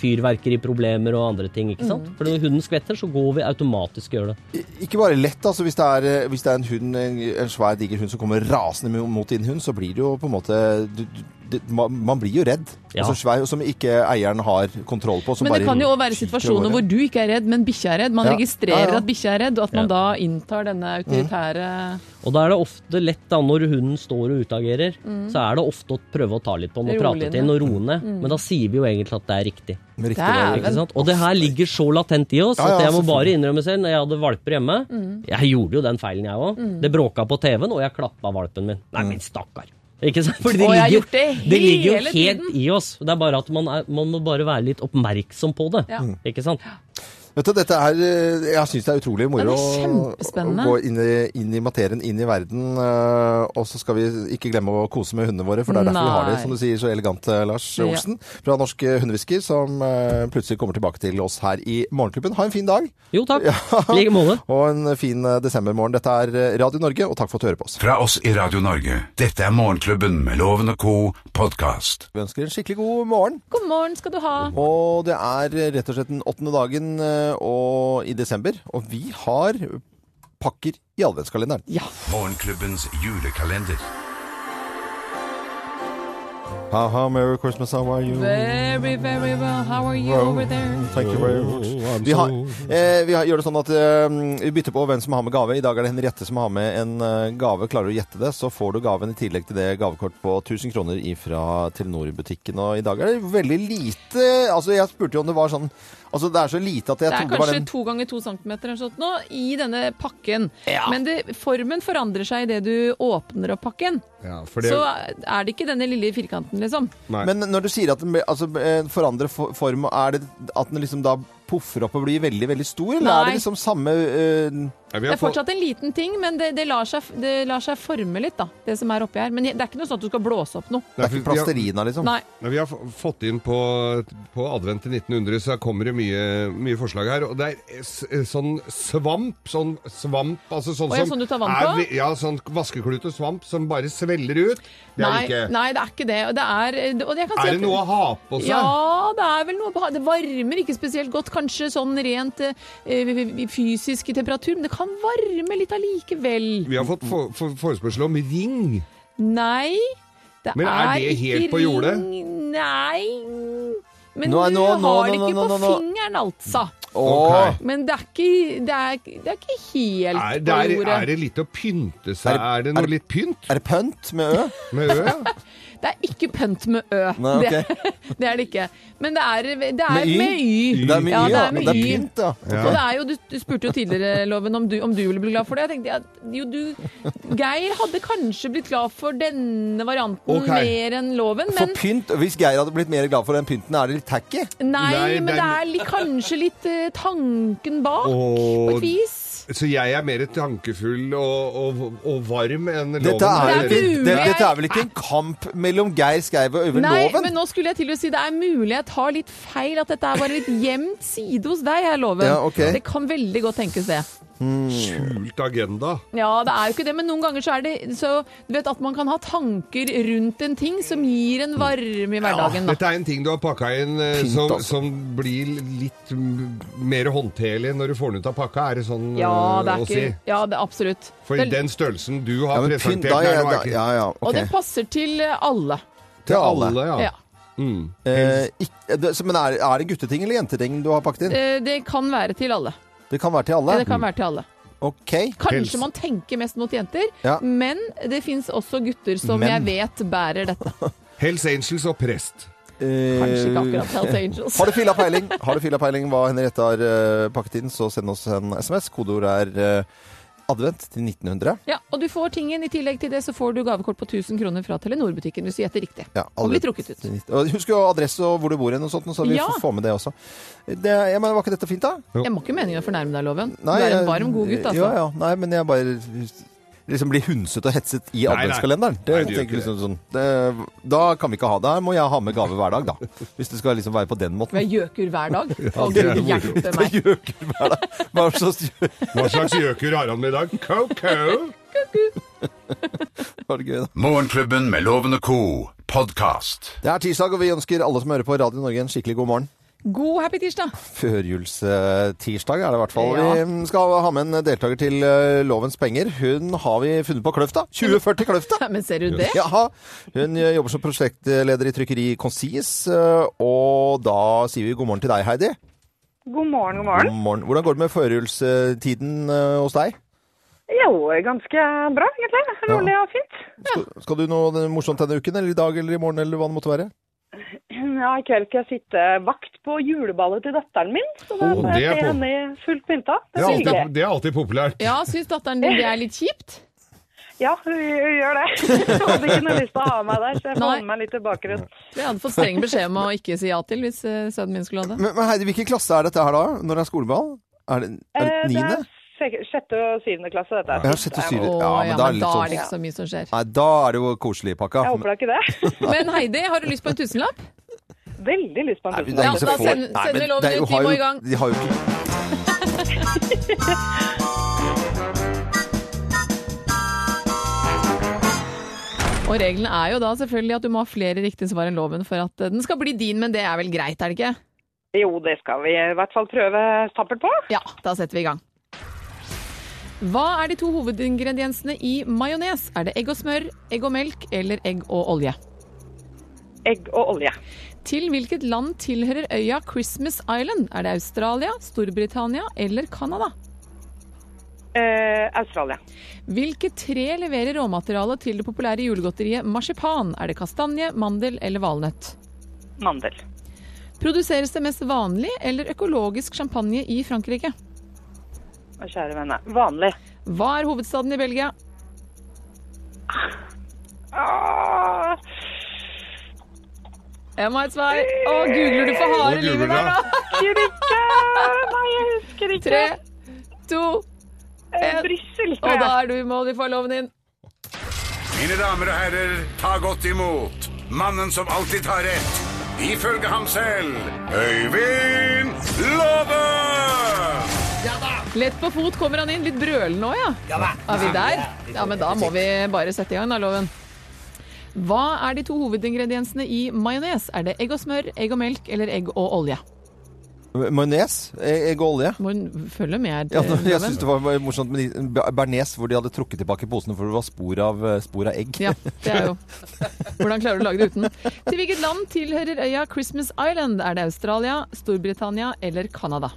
S10: fyrverkeriproblemer og andre ting. ikke sant? For når hunden skvetter, så går vi automatisk og gjør det.
S3: Ikke bare lett, altså. Hvis det er, eh, hvis det er en hund, en, en svær, diger hund som kommer rasende mot din hund, så blir det jo på en måte du, du, det, man, man blir jo redd.
S10: Ja.
S3: Altså svær, som ikke eieren har kontroll på. Som
S4: Men det
S3: bare
S4: kan jo også være
S3: fyker
S4: situasjoner
S3: over.
S4: hvor du ikke er redd, men bikkja er redd. Man
S3: Ja.
S4: registrerer
S3: Ja, ja.
S4: at bikkja er redd, og at man da inntar denne autoritære
S10: Og da er det ofte lett, da, når hunden står og utagerer, så er det ofte å prøve å ta litt på den og
S4: Roe
S10: prate
S4: ned.
S10: til den og roe ned. Men da sier vi jo egentlig at det er riktig.
S3: Men riktig,
S4: Dæven.
S3: det er-
S10: Ikke sant? Og det her ligger så latent i oss
S3: Ja, ja,
S10: at jeg må bare
S3: selvfølgelig.
S10: innrømme selv, når jeg hadde valper hjemme
S4: Mm.
S10: Jeg gjorde jo den feilen, jeg òg. Det bråka på TV-en, og jeg klappa valpen min.
S3: Mm.
S10: Nei, men stakkar. Ikke sant? Fordi det,
S4: Og jeg har
S10: ligger, jo-
S4: gjort det
S10: det ligger
S4: hele
S10: jo helt
S4: tiden.
S10: i oss. Det er bare at man, er, man må bare være litt oppmerksom på det.
S4: Ja.
S10: Ikke sant?
S3: Vet du, dette er, eh, jeg syns det er utrolig
S4: Ja, det
S3: moro å-
S4: er
S3: å
S4: kjempespennende.
S3: gå inn i, inn i materien, inn i verden. eh, Og så skal vi ikke glemme å kose med hundene våre, for det er derfor vi har
S4: Nei.
S3: det, som du sier så elegant, eh, Lars
S4: Ja.
S3: Olsen. Fra Norsk Hundehvisker, som eh, plutselig kommer tilbake til oss her i Morgenklubben. Ha en fin dag,
S10: Jo takk. I like måte.
S3: og en fin eh, desembermorgen. Dette er eh, Radio Norge, og takk for at du hører på oss.
S2: Fra oss i Radio Norge, dette er Morgenklubben med Loven og co. podkast.
S3: Vi ønsker en skikkelig god morgen.
S4: God morgen skal du ha.
S3: Og det er eh, rett og slett den åttende dagen eh, og, i desember, og vi har pakker i adventskalenderen.
S4: Ja.
S2: Morgenklubbens julekalender.
S3: Haha, merry Christmas, how are you?
S4: Very, very well. How are you over there?
S3: Thank you very
S5: Oh,
S3: much. Vi, har, eh, vi har, gjør det sånn at eh, vi bytter på hvem som har med gave. I dag er det Henriette som har med en eh, gave. Klarer du å gjette det, så får du gaven i tillegg til det gavekort på 1000 kroner fra Telenor-butikken. Og i dag er det veldig lite Altså, jeg spurte jo om det var sånn Altså, det er så lite at jeg
S4: Det er
S3: trodde det var
S4: kanskje
S3: den
S4: to ganger to centimeter eller sånt nå, i denne pakken. Men det, formen forandrer seg idet du åpner opp pakken.
S5: Ja, for det,
S4: Så er det ikke denne lille firkanten, liksom.
S5: nei.
S3: Men når du sier at den blir- altså, eh, forandrer for- form, er det at den liksom da poffer opp og blir veldig, veldig stor? Eller er
S4: Nei.
S3: det liksom samme eh,
S5: Ja,
S4: Det
S5: vi
S4: er
S5: har fått-
S4: fortsatt en liten ting, men det, det, lar seg, det lar seg forme litt, da. Det som er oppi her. Men det er ikke noe sånn at du skal blåse opp noe.
S3: Det er ikke
S5: for vi har-
S3: plasterina, liksom?
S4: Nei.
S5: Ja, Vi har f- fått inn på, på advent til 1900, så kommer det mye, mye forslag her. Og det er s sånn svamp, sånn svamp, altså sånn
S4: Å, ja,
S5: som
S4: sånn du tar vann på?
S5: vi- Ja, sånn vaskeklut og svamp som bare svelger ut. Det er
S4: Nei,
S5: det ikke.
S4: nei, det er ikke det. Og det er, og jeg kan si
S5: Er
S4: at-
S5: det noe å ha på seg?
S4: Ja, det er vel noe beha- Det varmer ikke spesielt godt, kanskje sånn rent eh, eh, fysisk i temperatur, men det kan varme litt allikevel.
S5: Vi har fått for for forespørsel om ring.
S4: Nei, det
S5: Men er det
S4: ikke
S5: helt på jordet?
S4: ring- Nei. Men
S3: Nå er-
S4: du
S3: nå- nå-
S4: har det
S3: nå-
S4: ikke
S3: nå- nå-
S4: på
S3: nå-
S4: fingeren, altså.
S3: Åh.
S4: Men det er ikke, det er, det er ikke helt
S5: Er, det
S4: på
S5: er,
S4: jordet.
S5: er det litt å pynte seg?
S3: Er-
S5: Er det
S3: er-
S5: noe litt pynt
S3: Er det pønt med ø?
S5: med ø? ja?
S4: Det er ikke pønt med Ø.
S3: Nei,
S4: det, det er det ikke. Men det er, det er
S3: Med Y?
S4: med Y.
S3: Det er med
S4: Ja,
S3: y,
S4: det
S3: ja.
S4: er med
S3: Det er
S4: y.
S3: pynt, ja.
S4: Og det er jo, du, du spurte jo tidligere, Loven, om du, om du ville bli glad for det. Jeg tenkte at jo, du Geir hadde kanskje blitt glad for denne varianten
S5: Ok.
S4: mer enn Loven,
S3: For
S4: men
S3: pynt, hvis Geir hadde blitt mer glad for den pynten, er det litt tacky?
S5: Nei,
S4: Nei, men
S5: den-
S4: det er litt, kanskje litt eh, tanken bak, på
S5: Og-
S4: et vis.
S5: Så jeg er mer tankefull og, og, og varm enn loven.
S3: Dette er,
S4: Det er
S3: jo ikke,
S4: mulig.
S3: det, dette er vel ikke en kamp mellom Geir Skeiv og Øyvind
S4: Nei,
S3: Loven?
S4: men nå skulle jeg til å si det er mulig jeg tar litt feil, at dette er bare litt gjemt side hos deg, her, Loven.
S3: Ja, ok.
S4: Det kan veldig godt tenkes, det.
S5: skjult agenda.
S4: Ja, det er jo ikke det, men noen ganger så er det så Du vet at man kan ha tanker rundt en ting som gir en varme i hverdagen, da.
S5: Dette er en ting du har pakka inn eh,
S3: Pynt,
S5: som,
S3: altså.
S5: som blir litt m- mer håndterlig når du får den ut av pakka. Er det sånn
S4: Ja, det
S5: eh,
S4: er
S5: å si?
S4: ikke Ja, det, absolutt.
S5: For
S4: Det-
S5: den størrelsen du
S3: Ja,
S5: har
S3: men pynt,
S5: presentert
S3: da,
S5: her
S3: er-
S5: nå,
S3: da,
S5: er ikke
S3: ja, ja,
S4: Og
S3: ok.
S4: den passer til eh, alle.
S3: Til alle.
S5: alle, ja.
S4: Ja.
S5: Mm.
S3: Eh, ikk- det, så, men er, er det gutteting eller jenteting du har pakket inn?
S4: Eh, Det kan være til alle.
S3: Det kan være til alle?
S4: Det kan være til alle.
S3: Ok. eh,
S5: Helse.
S4: Kanskje man tenker mest mot jenter,
S3: Ja.
S4: men det fins også gutter som
S3: Men.
S4: jeg vet bærer dette.
S5: Hells Angels og prest.
S4: Kanskje ikke
S3: Eh,
S4: akkurat Hells Angels.
S3: Har du filla peiling Har du filla peiling hva Henriette har eh, pakket inn, så send oss en SMS. Kodeord er eh, advent til 1900.
S4: Ja, og du får tingen. I tillegg til det så får du gavekort på 1000 kroner fra Telenor-butikken hvis du gjetter riktig.
S3: Ja,
S4: Og
S3: aldri-
S4: blir trukket ut.
S3: Og Husk jo adresse og hvor du bor, hen og sånt, så vi
S4: Ja.
S3: får få med det også. Det, jeg mener, Var ikke dette fint, da?
S4: Jeg må ikke meningen å fornærme deg, Loven.
S3: Nei,
S4: du er en
S3: jeg-
S4: varm, god gutt, altså.
S3: Ja, ja. Nei, men jeg bare liksom blir hunset og hetset i
S5: nei.
S3: adventskalenderen. Det,
S5: Nei, du gjør
S3: tenker
S5: ikke
S3: liksom sånn, det, da kan vi ikke ha det. Her må jeg ha med gave hver dag, da. Hvis det skal liksom være på den måten.
S4: Vi har gjøkur hver dag. Å,
S5: det er
S4: Gud hjelpe meg.
S3: Gjøker hver dag. Hva slags gjøker?
S5: Hva slags gjøkur har han med i dag? Coco!
S3: Var det gøy, da?
S2: Morgenklubben med Loven og co. podkast.
S3: Det er tirsdag, og vi ønsker alle som hører på Radio Norge en skikkelig god morgen.
S4: God happy tirsdag!
S3: Førjulstirsdag er det i hvert fall.
S4: Ja.
S3: Vi mm, skal ha med en deltaker til eh, Lovens penger. Hun har vi funnet på Kløfta. 2040 Kløfta!
S4: Ja, Men ser du det?
S3: Jaha. Hun eh, jobber som prosjektleder i trykkeri Konsis, eh, og da sier vi god morgen til deg, Heidi.
S11: God morgen, god
S3: God
S11: morgen.
S3: morgen. Hvordan går det med førjulstiden eh, hos deg?
S11: Jo, ganske bra, egentlig. Rolig og fint.
S3: Skal, skal du noe morsomt denne uken, eller i dag, eller i morgen, eller hva det måtte være?
S11: Ja, I kveld skal jeg sitte vakt på juleballet til datteren min. Så da
S5: Å,
S11: får
S5: det
S11: jeg se
S5: er på-
S11: henne i fullt pynta. Det
S5: Det er
S11: blir
S5: alltid,
S11: hyggelig.
S5: det er alltid populært.
S4: Ja, syns datteren din det er litt kjipt?
S11: Ja, hun, hun gjør det. Hun hadde ikke noe lyst til å ha meg der, så jeg får
S4: Nei.
S11: holde meg litt i bakgrunnen.
S4: Det hadde fått streng beskjed om å ikke si ja til hvis eh, sønnen min skulle ha det.
S3: Men, men Heidi, hvilken klasse er dette her da, når det er skoleball? Er det, er det
S11: Eh, Det
S3: niende?
S11: er sek- sjette og syvende klasse, dette.
S3: Ja, sjette og syvende.
S4: Å,
S3: Ja, men da er
S4: ja, men
S3: det litt
S4: da
S3: sånn-
S4: er det ikke så mye som skjer.
S3: Nei, da er det jo koselig i pakka.
S11: Jeg håper da ikke det.
S4: Men Heidi, har du lyst på en tusenlapp?
S11: Veldig lyst på en
S3: Nei, men
S11: tusenlapp.
S3: det er ingen
S4: Ja,
S3: som
S4: da
S3: får-
S4: sender-
S3: Nei,
S4: sender
S3: men
S4: loven
S3: det er jo-
S4: ut, vi
S3: har
S4: må
S3: jo-
S4: i gang.
S3: De har jo ikke
S4: Og reglene er jo da selvfølgelig at du må ha flere riktige svar enn loven for at eh, den skal bli din, men det er vel greit, er det ikke?
S11: Jo, det skal vi i hvert fall prøve tappert på.
S4: Ja, da setter vi i gang. Hva er de to hovedingrediensene i majones? Er det egg og smør, egg og melk eller egg og olje?
S11: Egg og olje.
S4: Til hvilket land tilhører øya Christmas Island? Er det Australia, Storbritannia eller Canada?
S11: Eh, Australia.
S4: Hvilket tre leverer råmaterialet til det populære julegodteriet marsipan? Er det kastanje, mandel eller valnøtt?
S11: Mandel.
S4: Produseres det mest vanlig eller økologisk champagne i Frankrike?
S11: Å, kjære venne. Vanlig.
S4: Hva er hovedstaden i Belgia?
S11: Ah.
S4: Jeg må ha et svar. Å, googler du for harde
S5: Nå
S4: livet
S5: googler
S4: der,
S5: jeg.
S4: da?
S11: Husker ikke! Nei, jeg husker ikke.
S4: Tre, to,
S11: Eh,
S4: en.
S11: Brussel,
S4: og
S11: tror
S4: da
S11: jeg.
S4: er du i mål. Vi får loven inn.
S2: Mine damer og herrer, ta godt imot mannen som alltid tar rett, ifølge ham selv, Øyvind Låve!
S4: Lett på fot kommer han inn. Litt brølende òg, ja. Er vi der? Ja, men da må vi bare sette i gang, da, loven. Hva er de to hovedingrediensene i majones? Er det egg og smør, egg og melk eller egg og olje?
S3: Majones, e- egg og olje.
S4: Må hun følge med?
S3: Ja,
S4: her,
S3: jeg
S4: Loven?
S3: syns det var morsomt med de- Be- Bernes, hvor de hadde trukket tilbake posene for det var spor av, eh, spor av egg.
S4: Ja, det er jo Hvordan klarer du å lage det uten? Til hvilket land tilhører øya Christmas Island? Er det Australia, Storbritannia eller Canada?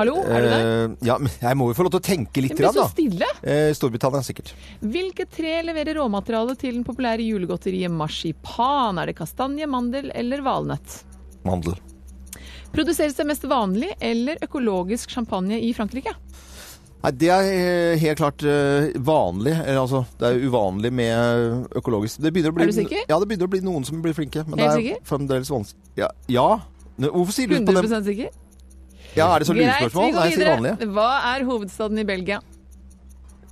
S4: Hallo, er du der?
S3: Eh, ja, men jeg må jo få lov til å tenke litt,
S4: Det blir
S3: grann,
S4: så
S3: da.
S4: stille.
S3: Eh, Storbritannia, sikkert.
S4: Hvilke tre leverer råmateriale til den populære julegodteriet marsipan? Er det kastanje, mandel eller valnøtt?
S3: Mandel.
S4: Produseres det mest vanlig eller økologisk champagne i Frankrike?
S3: Nei, det er eh, helt klart eh, vanlig. Eller, altså, det er jo uvanlig med eh, økologisk det begynner å bli,
S4: Er du sikker?
S3: Ja, det begynner å bli noen som blir flinke. Men
S4: Helt
S3: det
S4: sikker?
S3: er fremdeles vanskelig. Ja. ja. Nå, Hvorfor sier du på den?
S4: 100 sikker?
S3: Ja, er det så
S4: Greit, vi
S3: lurespørsmål? Nei,
S4: går
S3: jeg sier vanlige.
S4: videre. Hva er hovedstaden i Belgia?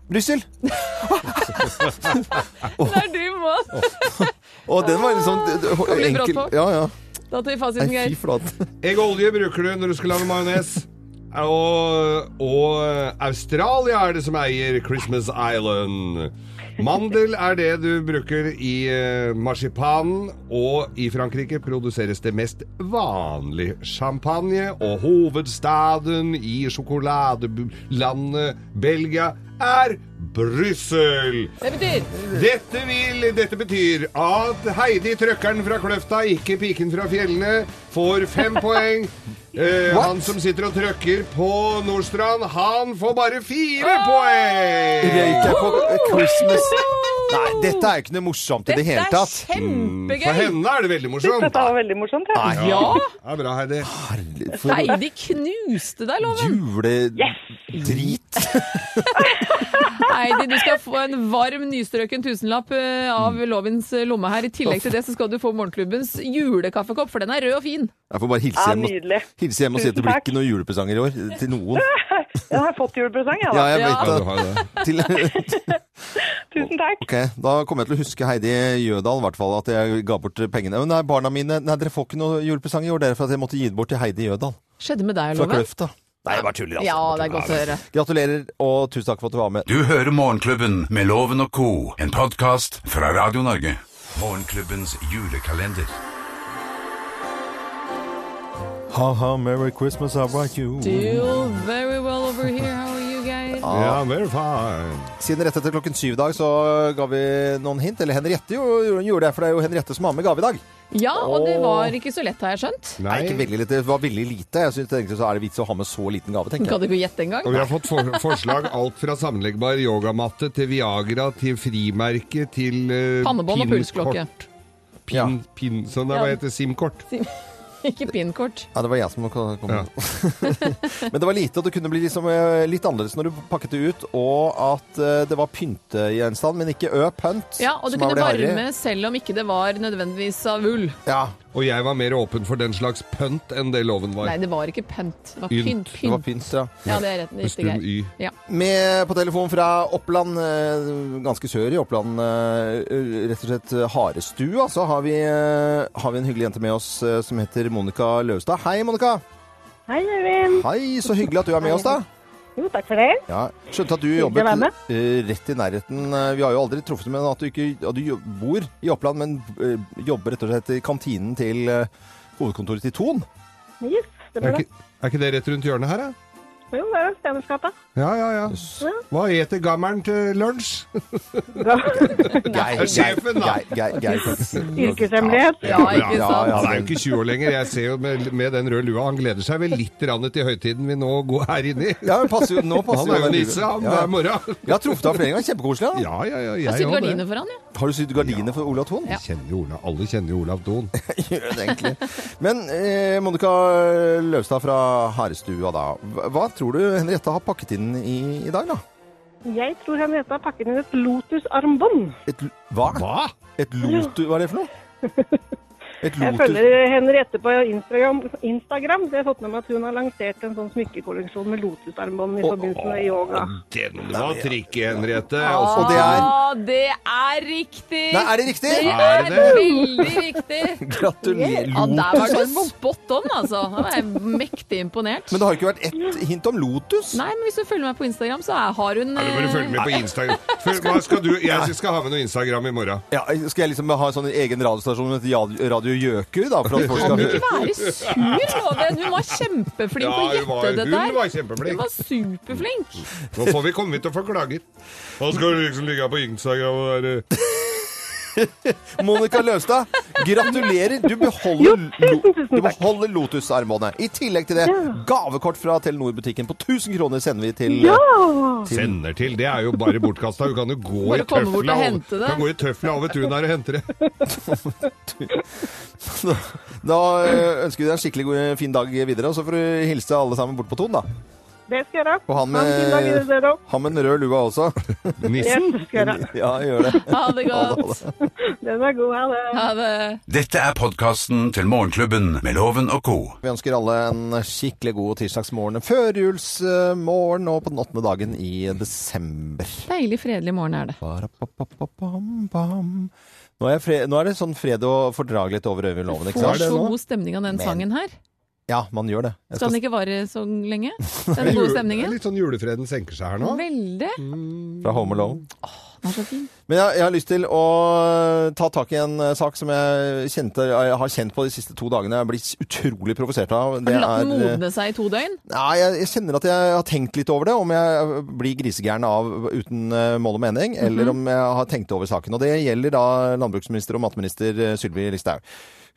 S3: Brussel!
S4: Der du må!
S3: Og den var liksom d- d-
S4: bli brått
S3: enkel.
S4: på.
S3: Ja, ja.
S4: Da tar vi fasiten,
S3: Nei,
S4: Geir.
S3: fy flate.
S5: Egg og olje bruker du når du skal lage majones. Og, og Australia er det som eier Christmas Island. Mandel er det du bruker i eh, marsipanen, og i Frankrike produseres det mest vanlig champagne. Og hovedstaden i sjokoladelandet Belgia er Brussel.
S4: Det betyr
S5: Dette, vil, dette betyr at Heidi Trøkkeren fra Kløfta, ikke piken fra fjellene, får fem poeng. Eh, han som sitter og trøkker på Nordstrand, han får bare fire
S3: Ah!
S5: poeng!
S3: Røyk jeg på Christmas Nei, dette er jo ikke noe morsomt i det hele
S4: Dette er
S3: tatt.
S5: For
S4: kjempegøy!
S5: henne er det veldig morsomt.
S11: Dette var veldig morsomt. Ja.
S4: Ja!
S5: Det er bra, Heidi.
S3: Ah. Herlig, for noe
S4: Heidi knuste deg, Loven.
S3: juledrit.
S4: Heidi, du skal få en varm, nystrøken tusenlapp eh, av
S3: Mm.
S4: Lovens lomme her. I tillegg til det så skal du få Morgenklubbens julekaffekopp, for den er rød og fin.
S3: Jeg får bare hilse
S11: Ja,
S3: hjem,
S11: nydelig.
S3: og, hilse hjem og si at det
S11: Tusen
S3: blir
S11: takk.
S3: ikke noen julepresanger i år. Til noen.
S11: Jeg har fått julepresang, jeg,
S3: Ja,
S11: da.
S3: jeg
S4: Ja.
S5: Ja, du
S3: vet
S5: har det.
S3: det. Til,
S11: Tusen takk.
S3: Ok, Da kommer jeg til å huske Heidi Jødal, i hvert fall, at jeg ga bort pengene. Nei, barna mine Nei, dere får ikke noe julepresang i år, dere, for at jeg måtte gi det bort til Heidi Jødal
S4: Skjedde med deg,
S3: fra
S4: Loven?
S3: Kløfta. Nei, jeg bare tuller, altså.
S4: Ja, det er godt å høre.
S3: Gratulerer, og tusen takk for at du var med.
S2: Du hører Morgenklubben med Loven og Co., en podkast fra Radio Norge. Morgenklubbens julekalender.
S3: Ha, ha, merry Christmas, how about you?
S4: Do you very well over here? How are you guys?
S3: Ja.
S5: very fine.
S3: Siden rett etter klokken syv i dag så ga vi noen hint. Eller Henriette jo, gjorde det, for det er jo Henriette som har med gave i dag.
S4: Ja, og det var ikke så lett, har jeg skjønt.
S3: Nei. ikke veldig lite. Det var veldig lite. Jeg synes egentlig så er det vits å ha med så liten gave, tenker
S4: Kan du
S3: jeg.
S4: ikke gjette engang?
S5: Og vi har fått for forslag alt fra sammenleggbar yogamatte til Viagra til frimerke til eh,
S4: Pannebånd og
S5: pinkort.
S4: pulsklokke.
S5: Pin, pin, sånn der,
S4: Ja.
S5: hva heter det? SIM-kort.
S4: Ikke pinkort.
S3: Ja, det var jeg som kom. Men det var lite, og det kunne bli liksom, eh, litt annerledes når du pakket det ut, og at eh, det var pyntegjenstand, men ikke ø, pønt.
S4: Ja, og du
S3: som er
S4: kunne
S3: vel det harry.
S4: varme selv om ikke det var nødvendigvis av ull.
S3: Ja.
S5: Og jeg var mer åpen for den slags pynt enn det loven var.
S4: Nei, det var ikke pent. Det var
S5: Ynt.
S4: pynt.
S5: Det var
S4: pynt.
S3: pynt, ja.
S4: Ja, det er rett,
S5: Med
S4: riktig
S5: stum
S4: greit.
S5: y.
S4: Ja.
S3: Med på telefon fra Oppland, eh, ganske sør i Oppland, eh, rett og slett eh, Harestua, så har vi, eh, har vi en hyggelig jente med oss eh, som heter Monica Løvstad. Hei, Monica!
S12: Hei, Øyvind.
S3: Hei, så hyggelig at du er med oss, da.
S12: Jo, takk for det.
S3: Ja, skjønte at du
S12: Hyggelig å
S3: jobbet
S12: være med.
S3: eh, rett i nærheten. Eh, Vi har jo aldri truffet med at du ikke at du jo- bor i Oppland, men eh, jobber rett og slett i kantinen til eh, hovedkontoret til Thon.
S12: Yes, det
S5: Er
S12: blir det.
S5: ikke, er ikke det rett rundt hjørnet her, da?
S12: Jo, det er Steinersgata.
S5: Ja, ja, ja. Hva heter gammeren til lunsj?
S3: Geir,
S5: Sjefen, da!
S3: Geir, Geir.
S12: Yrkeshemmelighet.
S4: Ja, ikke
S3: Ja,
S4: sant?
S3: ja,
S5: Han er jo ikke 20 år lenger. Jeg ser jo med, med den røde lua. Han gleder seg vel litt grann til høytiden vi nå går her inne i.
S3: Ja, men passer jo, nå passer
S5: Han er jo
S3: den
S5: nisse, han,
S3: Ja.
S5: hver morgen.
S3: Jeg har truffet deg flere ganger. Kjempekoselig. da.
S5: Ja, ja, ja.
S4: Jeg har
S5: Jeg
S4: sydd
S5: også det.
S4: gardiner for han, ja.
S3: Har du sydd gardiner for Olav Thon?
S5: Jeg Kjenner jo Olav. Alle kjenner jo Olav Thon.
S3: Gjør det egentlig. Men eh, Monica Løvstad fra Harestua, da. Hva- Hva tror du Henriette har pakket inn i, i dag, da?
S12: Jeg tror Henriette har pakket inn et Lotus-armbånd.
S3: Et, l- hva?
S5: Hva?
S3: Et lotus Hva er det for noe? Et
S12: Jeg
S3: lotus
S12: følger Henriette på Instagram. Instagram. Så jeg har fått med meg at hun har lansert en sånn smykkekolleksjon med Lotus-armbånd i forbindelse med yoga.
S5: Den var trikket, Henriette.
S3: Og
S5: Også-
S3: det er
S4: Ja, det er riktig!
S3: Nei, er det riktig?
S4: Det
S5: Er
S4: er
S5: det det?
S4: veldig riktig!
S3: Gratulerer.
S4: Ja, der var du
S3: Lotus-armbånd.
S4: spot on, altså. Da var jeg mektig imponert.
S3: Men det har ikke vært ett hint om Lotus?
S4: Nei, men hvis du følger meg på Instagram, så er, har hun
S5: Ja, du bare
S4: eh,
S5: følge med på Instagram. Følg- Hva skal du? Jeg skal ha med noe Instagram i morgen.
S3: Ja, skal jeg liksom ha en sånn egen radiostasjon som heter Ja- Radio Gjøku? da, for at folk skal...
S4: Kan ikke være sur, Loven. Hun var kjempeflink på å
S5: Ja, hun var-
S4: gjette det
S5: hun
S4: der.
S5: var kjempeflink.
S4: Hun var superflink.
S5: Nå får vi komme hit og få klager. Hva skal du liksom ligge på Instagram og være
S3: Monica Løvstad, gratulerer! Du beholder,
S12: tusen, tusen
S3: du
S12: takk.
S3: beholder Lotus-armbåndet. I tillegg til det, gavekort fra Telenor-butikken på 1000 kroner sender vi til eh,
S12: Ja!
S5: Sender til, det er jo bare bortkasta. Du kan jo gå
S4: Bare
S5: i
S4: komme bort
S5: tøfla
S4: og
S5: over-
S4: hente det.
S5: Du kan gå i tøfla over tunet her og hente det.
S3: Da eh, ønsker vi deg en skikkelig god, fin dag videre, og så får du hilse alle sammen bort på Ton, da.
S12: Det skal jeg gjøre.
S3: Og han med-
S12: Ha en fin dag videre, dere også.
S3: Ha med en rød lue også.
S5: Nissen.
S12: Yes, det skal jeg gjøre.
S3: Ja, gjør det.
S4: Ha det godt.
S12: Den var god. Ha det.
S4: Ha det.
S2: Dette er podkasten til Morgenklubben med Loven og co.
S3: Vi ønsker alle en skikkelig god tirsdagsmorgen, førjulsmorgen og på den åttende dagen i desember.
S4: Deilig fredelig morgen er det.
S3: Barapapapapam. Nå er, jeg fre Nå er det sånn fred og fordragelighet over Øyvind Loven, ikke
S4: Får
S3: sant?
S4: så god stemning av den sangen her.
S3: Ja, man gjør det. Jeg
S4: Skal
S3: skal
S4: den ikke vare så lenge? Den gode stemningen?
S5: Litt sånn julefreden senker seg her nå.
S4: Veldig.
S3: fra Home Alone.
S4: Den er så fin.
S3: Men jeg, jeg har lyst til å ta tak i en eh, sak som jeg, kjente, jeg har kjent på de siste to dagene. Jeg blir utrolig provosert av.
S4: Har
S3: Det
S4: du latt den
S3: er, eh,
S4: modne seg i to døgn?
S3: Nei, jeg, jeg kjenner at jeg har tenkt litt over det. Om jeg blir grisegæren av uten eh, mål og mening, eller om jeg har tenkt over saken. Og det gjelder da landbruksminister og matminister eh, Sylvi Listhaug.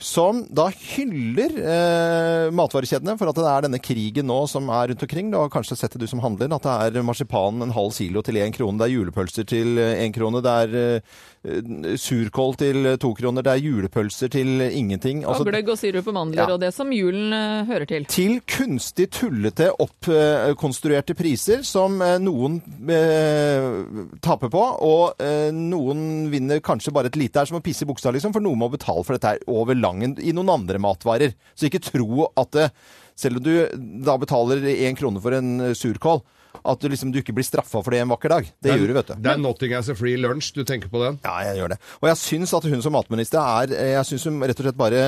S3: Som da hyller eh, matvarekjedene for at det er denne krigen nå som er rundt omkring. Du har kanskje sett det du som handler, at det er marsipan en halv kilo til én krone, det er julepølser til eh, én krone, det er eh, surkål til to kroner, det er julepølser til ingenting.
S4: Og
S3: Altså,
S4: gløgg og sirup og mandler
S3: Ja.
S4: og det som julen eh, hører til.
S3: til kunstig tullete oppkonstruerte priser som eh, noen eh, taper på, og eh, noen vinner kanskje bare et lite her som å pisse i buksa, liksom, for noen må betale for dette her over langen i noen andre matvarer. Så ikke tro at det, selv om du da betaler én krone for en eh, surkål, at du liksom du ikke blir straffa for det en vakker dag. Det gjør du, vet du.
S5: Det er Notting as a free lunch, du tenker på den.
S3: Ja, jeg gjør det. Og jeg syns at hun som matminister er Jeg syns hun rett og slett bare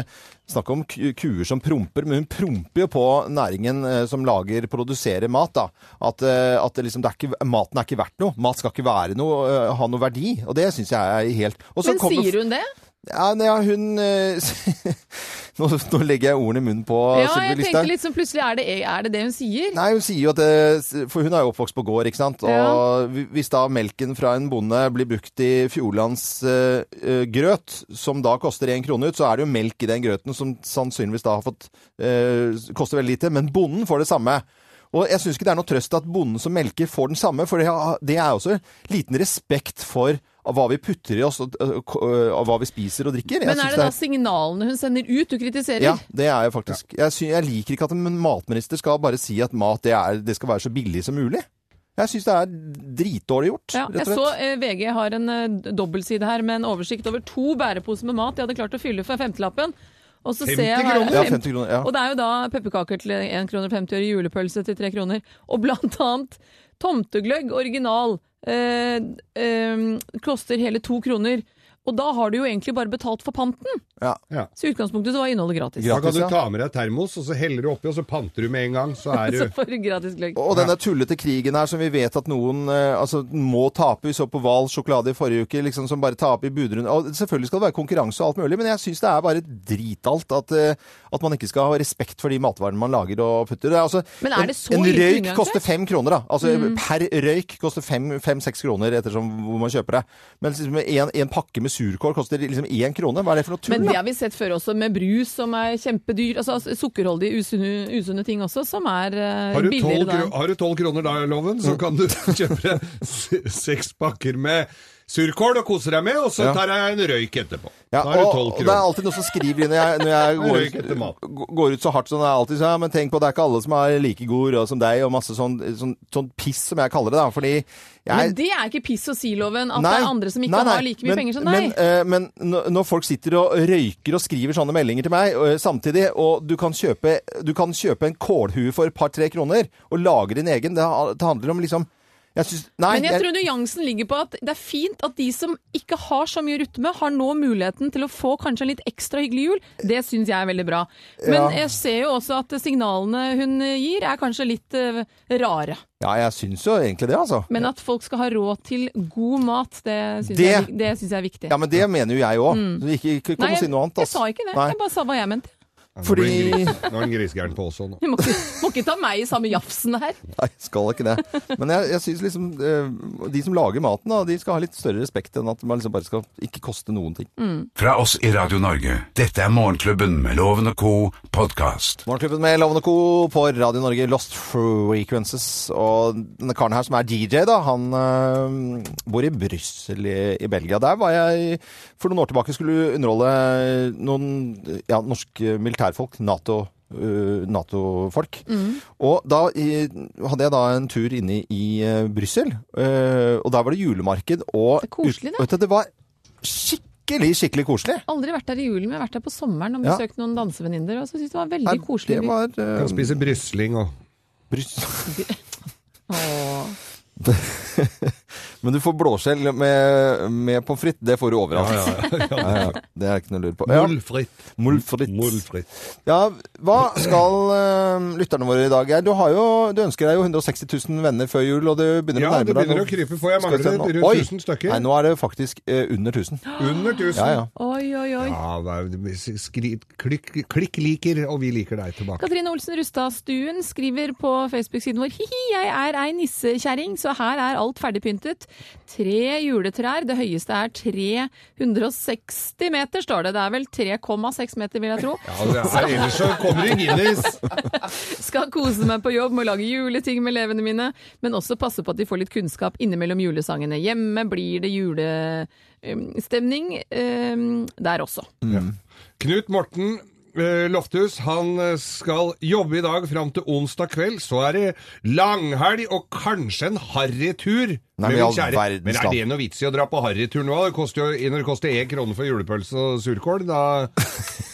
S3: Snakk om ku- kuer som promper, men hun promper jo på næringen eh, som lager, produserer mat. da. At, eh, at det liksom, det er ikke, maten er ikke verdt noe. Mat skal ikke være noe, eh, ha noe verdi. Og det syns jeg er helt Og så
S4: Men
S3: kommer-
S4: sier hun det?
S3: Ja, nei, ja, hun eh, nå, nå legger jeg ordene i munnen på
S4: Ja,
S3: Sylvi
S4: jeg
S3: Listhaug.
S4: tenker litt sånn plutselig er det er det, det hun sier?
S3: Nei, hun sier jo at det, For hun er jo oppvokst på gård, ikke sant? Og
S4: Ja.
S3: hvi- hvis da melken fra en bonde blir brukt i Fjordlands eh, eh, grøt, som da koster én krone ut, så er det jo melk i den grøten som sannsynligvis da har fått eh, Koster veldig lite, men bonden får det samme. Og jeg syns ikke det er noe trøst at bonden som melker, får den samme, for det er- det er også liten respekt for hva vi putter i oss, og, og, og hva vi spiser og drikker. Jeg
S4: Men
S3: synes
S4: er det da signalene hun sender ut du kritiserer?
S3: ja, det er jeg faktisk. Jeg, sy jeg liker ikke at en matminister skal bare si at mat det, er, det skal være så billig som mulig. Jeg syns det er dritdårlig gjort,
S4: Ja, jeg
S3: rett og
S4: så
S3: slett.
S4: eh, VG har en eh, dobbeltside her med en oversikt over to bæreposer med mat de hadde klart å fylle for femtelappen. Og så
S3: 50
S4: ser jeg her-
S3: kroner? Ja, 50 kroner, ja.
S4: Og det er jo da pepperkaker til 1 kroner 50 øre, julepølse til 3 kroner, og blant annet tomtegløgg original eh, eh, koster hele 2 kroner. Og da har du jo egentlig bare betalt for panten.
S3: Ja.
S4: Så i utgangspunktet så var innholdet gratis.
S5: da kan du ta med deg termos, og så heller du oppi, og så panter du med en gang. Så er
S4: Så
S5: du
S4: får du gratis gløgg.
S3: Og denne tullete krigen her som vi vet at noen eh, altså, må tape. Vi så på Hval sjokolade i forrige uke, liksom, som bare taper i budrunden. Og selvfølgelig skal det være konkurranse og alt mulig, men jeg syns det er bare dritalt at, eh, at man ikke skal ha respekt for de matvarene man lager og putter. Det er altså,
S4: Men er
S3: en-
S4: det så
S3: en
S4: lite
S3: røyk
S4: unyansert?
S3: koster fem kroner, da. Altså
S4: Mm.
S3: per røyk koster fem- fem-seks kroner ettersom hvor man kjøper det. Mens liksom, en, en pakke med surkål koster liksom én krone. Hva er det for noe tull?
S4: Men det
S3: da?
S4: har vi sett før også, med brus som er kjempedyr. Altså sukkerholdige, usunne, usunne ting også, som er eh,
S5: Har du
S4: billigere
S5: tolv
S4: da.
S5: kro har du 12 kroner da, Loven,
S3: Mm.
S5: så kan du kjøpe deg s- seks pakker med surkål og kose deg med, og så
S3: Ja.
S5: tar jeg en røyk etterpå.
S3: Ja,
S5: da har du
S3: og,
S5: 12
S3: og det er
S5: kroner.
S3: alltid noen som skriver inn når jeg, når jeg
S5: Men røyk
S3: går,
S5: etter mat.
S3: ut- går ut så hardt som det er alltid sånn, ja, men tenk på det er ikke alle som er like gode råd som deg, og masse sånn, sånn, sånn piss som jeg kaller det, da, fordi
S4: Men
S3: jeg
S4: det er ikke piss og si-loven, at
S3: Nei,
S4: det er andre som ikke
S3: nei, nei,
S4: har like mye
S3: men-
S4: penger som deg.
S3: Men, eh, men når- når folk sitter og røyker og skriver sånne meldinger til meg eh, samtidig, og du kan kjøpe, du kan kjøpe en kålhue for et par-tre kroner og lage din egen, det, ha- det handler om liksom jeg synes, nei,
S4: Men jeg tror nyansen ligger på at det er fint at de som ikke har så mye rytme, har nå muligheten til å få kanskje en litt ekstra hyggelig jul. Det syns jeg er veldig bra. Men
S3: Ja.
S4: jeg ser jo også at signalene hun gir er kanskje litt eh, rare.
S3: Ja, jeg syns jo egentlig det, altså.
S4: Men at folk skal ha råd til god mat, det syns
S3: Det-
S4: jeg, det syns jeg er viktig.
S3: Ja, men det mener jo jeg òg.
S4: Mm.
S3: Ikke, ikke kom og si noe annet.
S4: jeg
S3: ass.
S4: sa ikke det.
S3: Nei.
S4: Jeg bare sa hva jeg mente.
S5: Nå blir
S3: fordi-
S5: en gris- Nå er en grisegæren på også nå.
S4: Du må ikke, må ikke ta meg i samme jafsen her.
S3: Nei, skal ikke det. Men jeg, jeg syns liksom eh, de som lager maten, da, de skal ha litt større respekt enn at man liksom bare skal ikke koste noen ting.
S2: Fra oss i Radio Norge, dette er Morgenklubben med Loven og Co. podkast.
S3: Morgenklubben med Lovende Co. på Radio Norge, Lost Frequences. Og denne karen her som er DJ, da, han eh, bor i Brussel i, i Belgia. Der var jeg for noen år tilbake skulle underholde noen ja, norske militærfolk, Nato. eh, Nato-folk.
S4: Mm.
S3: Og da eh, hadde jeg da en tur inne i eh, Brussel, eh, og der var det julemarked og
S4: koselig, da.
S3: Vet du, det var skikkelig, skikkelig koselig.
S4: Aldri vært der i julen, men jeg har vært der på sommeren og
S3: Ja.
S4: besøkt noen dansevenninner. Og så synes jeg det var veldig koselig.
S3: Det var eh,
S5: Kan spise brysling og
S3: Men du får blåskjell med, med pommes frites, det får du overalt.
S5: Ja, ja, ja.
S3: Ja, ja. Det er ikke noe å lure på. Ja.
S5: Muldfritt.
S3: Muldfritt.
S5: Muldfritt.
S3: Ja, hva skal eh, lytterne våre i dag Geir? Du, har jo, du ønsker deg jo 160 000 venner før jul, og du begynner
S5: Ja,
S3: å nærme
S5: det
S3: deg
S5: begynner
S3: nå-
S5: å krype, for jeg
S3: Skal vi se nå.
S5: mangler rundt
S3: Oi!
S5: 1000 stykker.
S3: Nei, nå er det faktisk eh, under 1000.
S5: Under 1000.
S3: Ja, ja.
S4: Oi, oi, oi.
S5: Ja, hva er det- skri, klikk, klikk liker, og vi liker deg tilbake.
S4: Katrine Olsen Rustadstuen skriver på Facebook-siden vår Hihi, jeg er ei nissekjerring, så her er alt ferdigpyntet. Tre juletrær, det høyeste er 360 meter, står det. Det er vel 3,6 meter, vil jeg tro.
S5: Ja, det er, ellers så kommer det Guinness.
S4: Skal kose meg på jobb med å lage juleting med elevene mine, men også passe på at de får litt kunnskap innimellom julesangene. Hjemme blir det julestemning ehm, der også.
S5: Knut Morten eh, Lofthus han eh, skal jobbe i dag fram til onsdag kveld. Så er det langhelg og kanskje en harrytur
S3: Nei, men i
S5: men,
S3: all
S5: kjære,
S3: verdens
S5: men er
S3: land.
S5: det noe vits i å dra på harrytur nå? Det koster jo, når det koster én krone for julepølse og surkål, da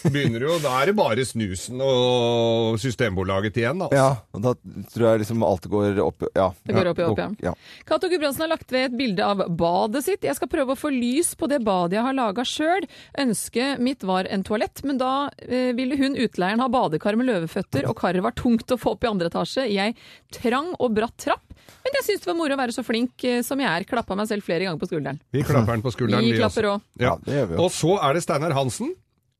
S5: begynner jo Da er det bare snusen og Systembolaget igjen, da.
S3: Ja, og da tror jeg liksom alt går opp Ja.
S4: Det går opp i opp, ja.
S3: ja.
S4: Cato Gudbrandsen har lagt ved et bilde av badet sitt. Jeg skal prøve å få lys på det badet jeg har laga sjøl. Ønsket mitt var en toalett, men da eh, ville hun utleieren ha badekar med løveføtter, og karet var tungt å få opp i andre etasje i ei trang og bratt trapp. Men jeg syns det var moro å være så flink eh, som jeg er. Klappa meg selv flere ganger på skulderen.
S5: Vi klapper den på skulderen,
S4: Vi
S5: også.
S4: klapper også.
S5: Ja. Og så er det Steinar Hansen.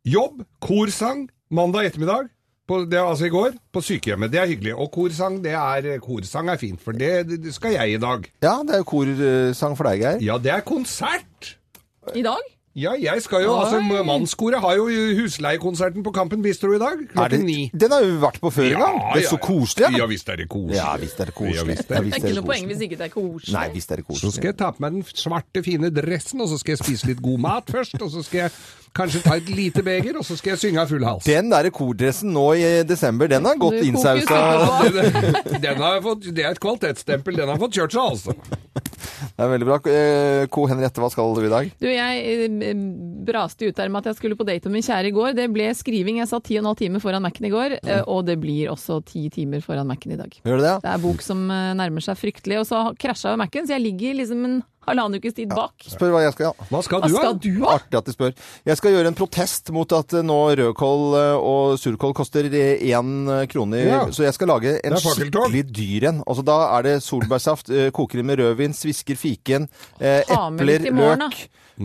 S5: Jobb, korsang, mandag ettermiddag. På, det, altså i går, på sykehjemmet. Det er hyggelig. Og korsang det er, korsang er fint, for det, det skal jeg i dag.
S3: Ja, det er jo korsang for deg, Geir.
S5: Ja, det er konsert!
S4: I dag?
S5: Ja, jeg skal jo,
S4: Oi.
S5: altså Mannskoret har jo husleiekonserten på Kampen Bistro i dag.
S3: Er det,
S5: Klokken ni.
S3: den har vi vært på før en
S5: Ja,
S3: gang. Det er
S5: ja,
S3: så koselig.
S5: Ja visst er det koselig.
S3: Ja visst er det koselig.
S5: Ja, visst er
S3: Ja,
S5: det
S4: Det er
S3: visst
S4: ikke
S3: er
S4: noe poeng hvis ikke det er koselig.
S3: Nei, visst er det
S5: Så skal
S3: koselig.
S5: jeg ta på meg den svarte, fine dressen, og så skal jeg spise litt god mat først, og så skal jeg kanskje ta et lite beger, og så skal jeg synge av full hals.
S3: Den der kordressen nå i desember, den er godt
S4: Du koker
S3: innsausa.
S5: Den har fått, det er et kvalitetsstempel. Den har fått kjørt seg, altså.
S3: Det er veldig bra. Eh, Co. Henriette, hva skal du i dag?
S4: Du, jeg eh, braste ut der med at jeg skulle på date med min kjære i går. Det ble skriving. Jeg sa 10 15 timer foran Mac-en i går, eh, og det blir også 10 timer foran Mac-en i dag.
S3: Gjør du det?
S4: Det er bok som eh, nærmer seg fryktelig. Og så har- krasja jo Mac-en, så jeg ligger liksom en halvannen ukes tid bak.
S3: Spør hva jeg skal, ja.
S5: Hva skal
S4: Hva
S5: du, da?
S4: skal du ha?
S3: Artig at de spør. Jeg skal gjøre en protest mot at eh, nå rødkål eh, og surkål koster én krone.
S5: Ja.
S3: Så jeg skal lage en
S5: Det er fakkeltog.
S3: skikkelig dyr en. Altså, da er det solbærsaft, eh, koker det med rødvin, svisker fiken, eh,
S4: Ta med litt
S3: epler,
S4: i morgen,
S3: løk.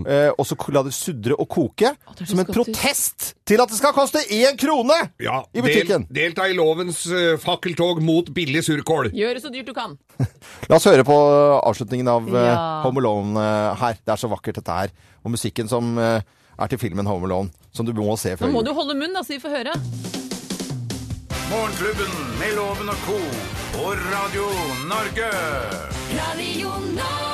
S3: eh, Og så la det sudre og koke
S4: det er så
S3: som en
S4: godt ut.
S3: protest til at det skal koste én krone
S5: Ja,
S3: i butikken.
S5: Del, delta i lovens eh, fakkeltog mot billig surkål.
S4: Gjør det så dyrt du kan.
S3: La oss høre på avslutningen av eh,
S4: Ja.
S3: Home Alone eh, her. Det er så vakkert dette her. Og musikken som eh, er til filmen Home Alone, som du må se
S4: Nå
S3: før
S4: må
S3: jul.
S4: du holde munn, da, så vi får høre.
S2: Morgenklubben med Loven og co. på Radio Norge.
S1: Radio Norge.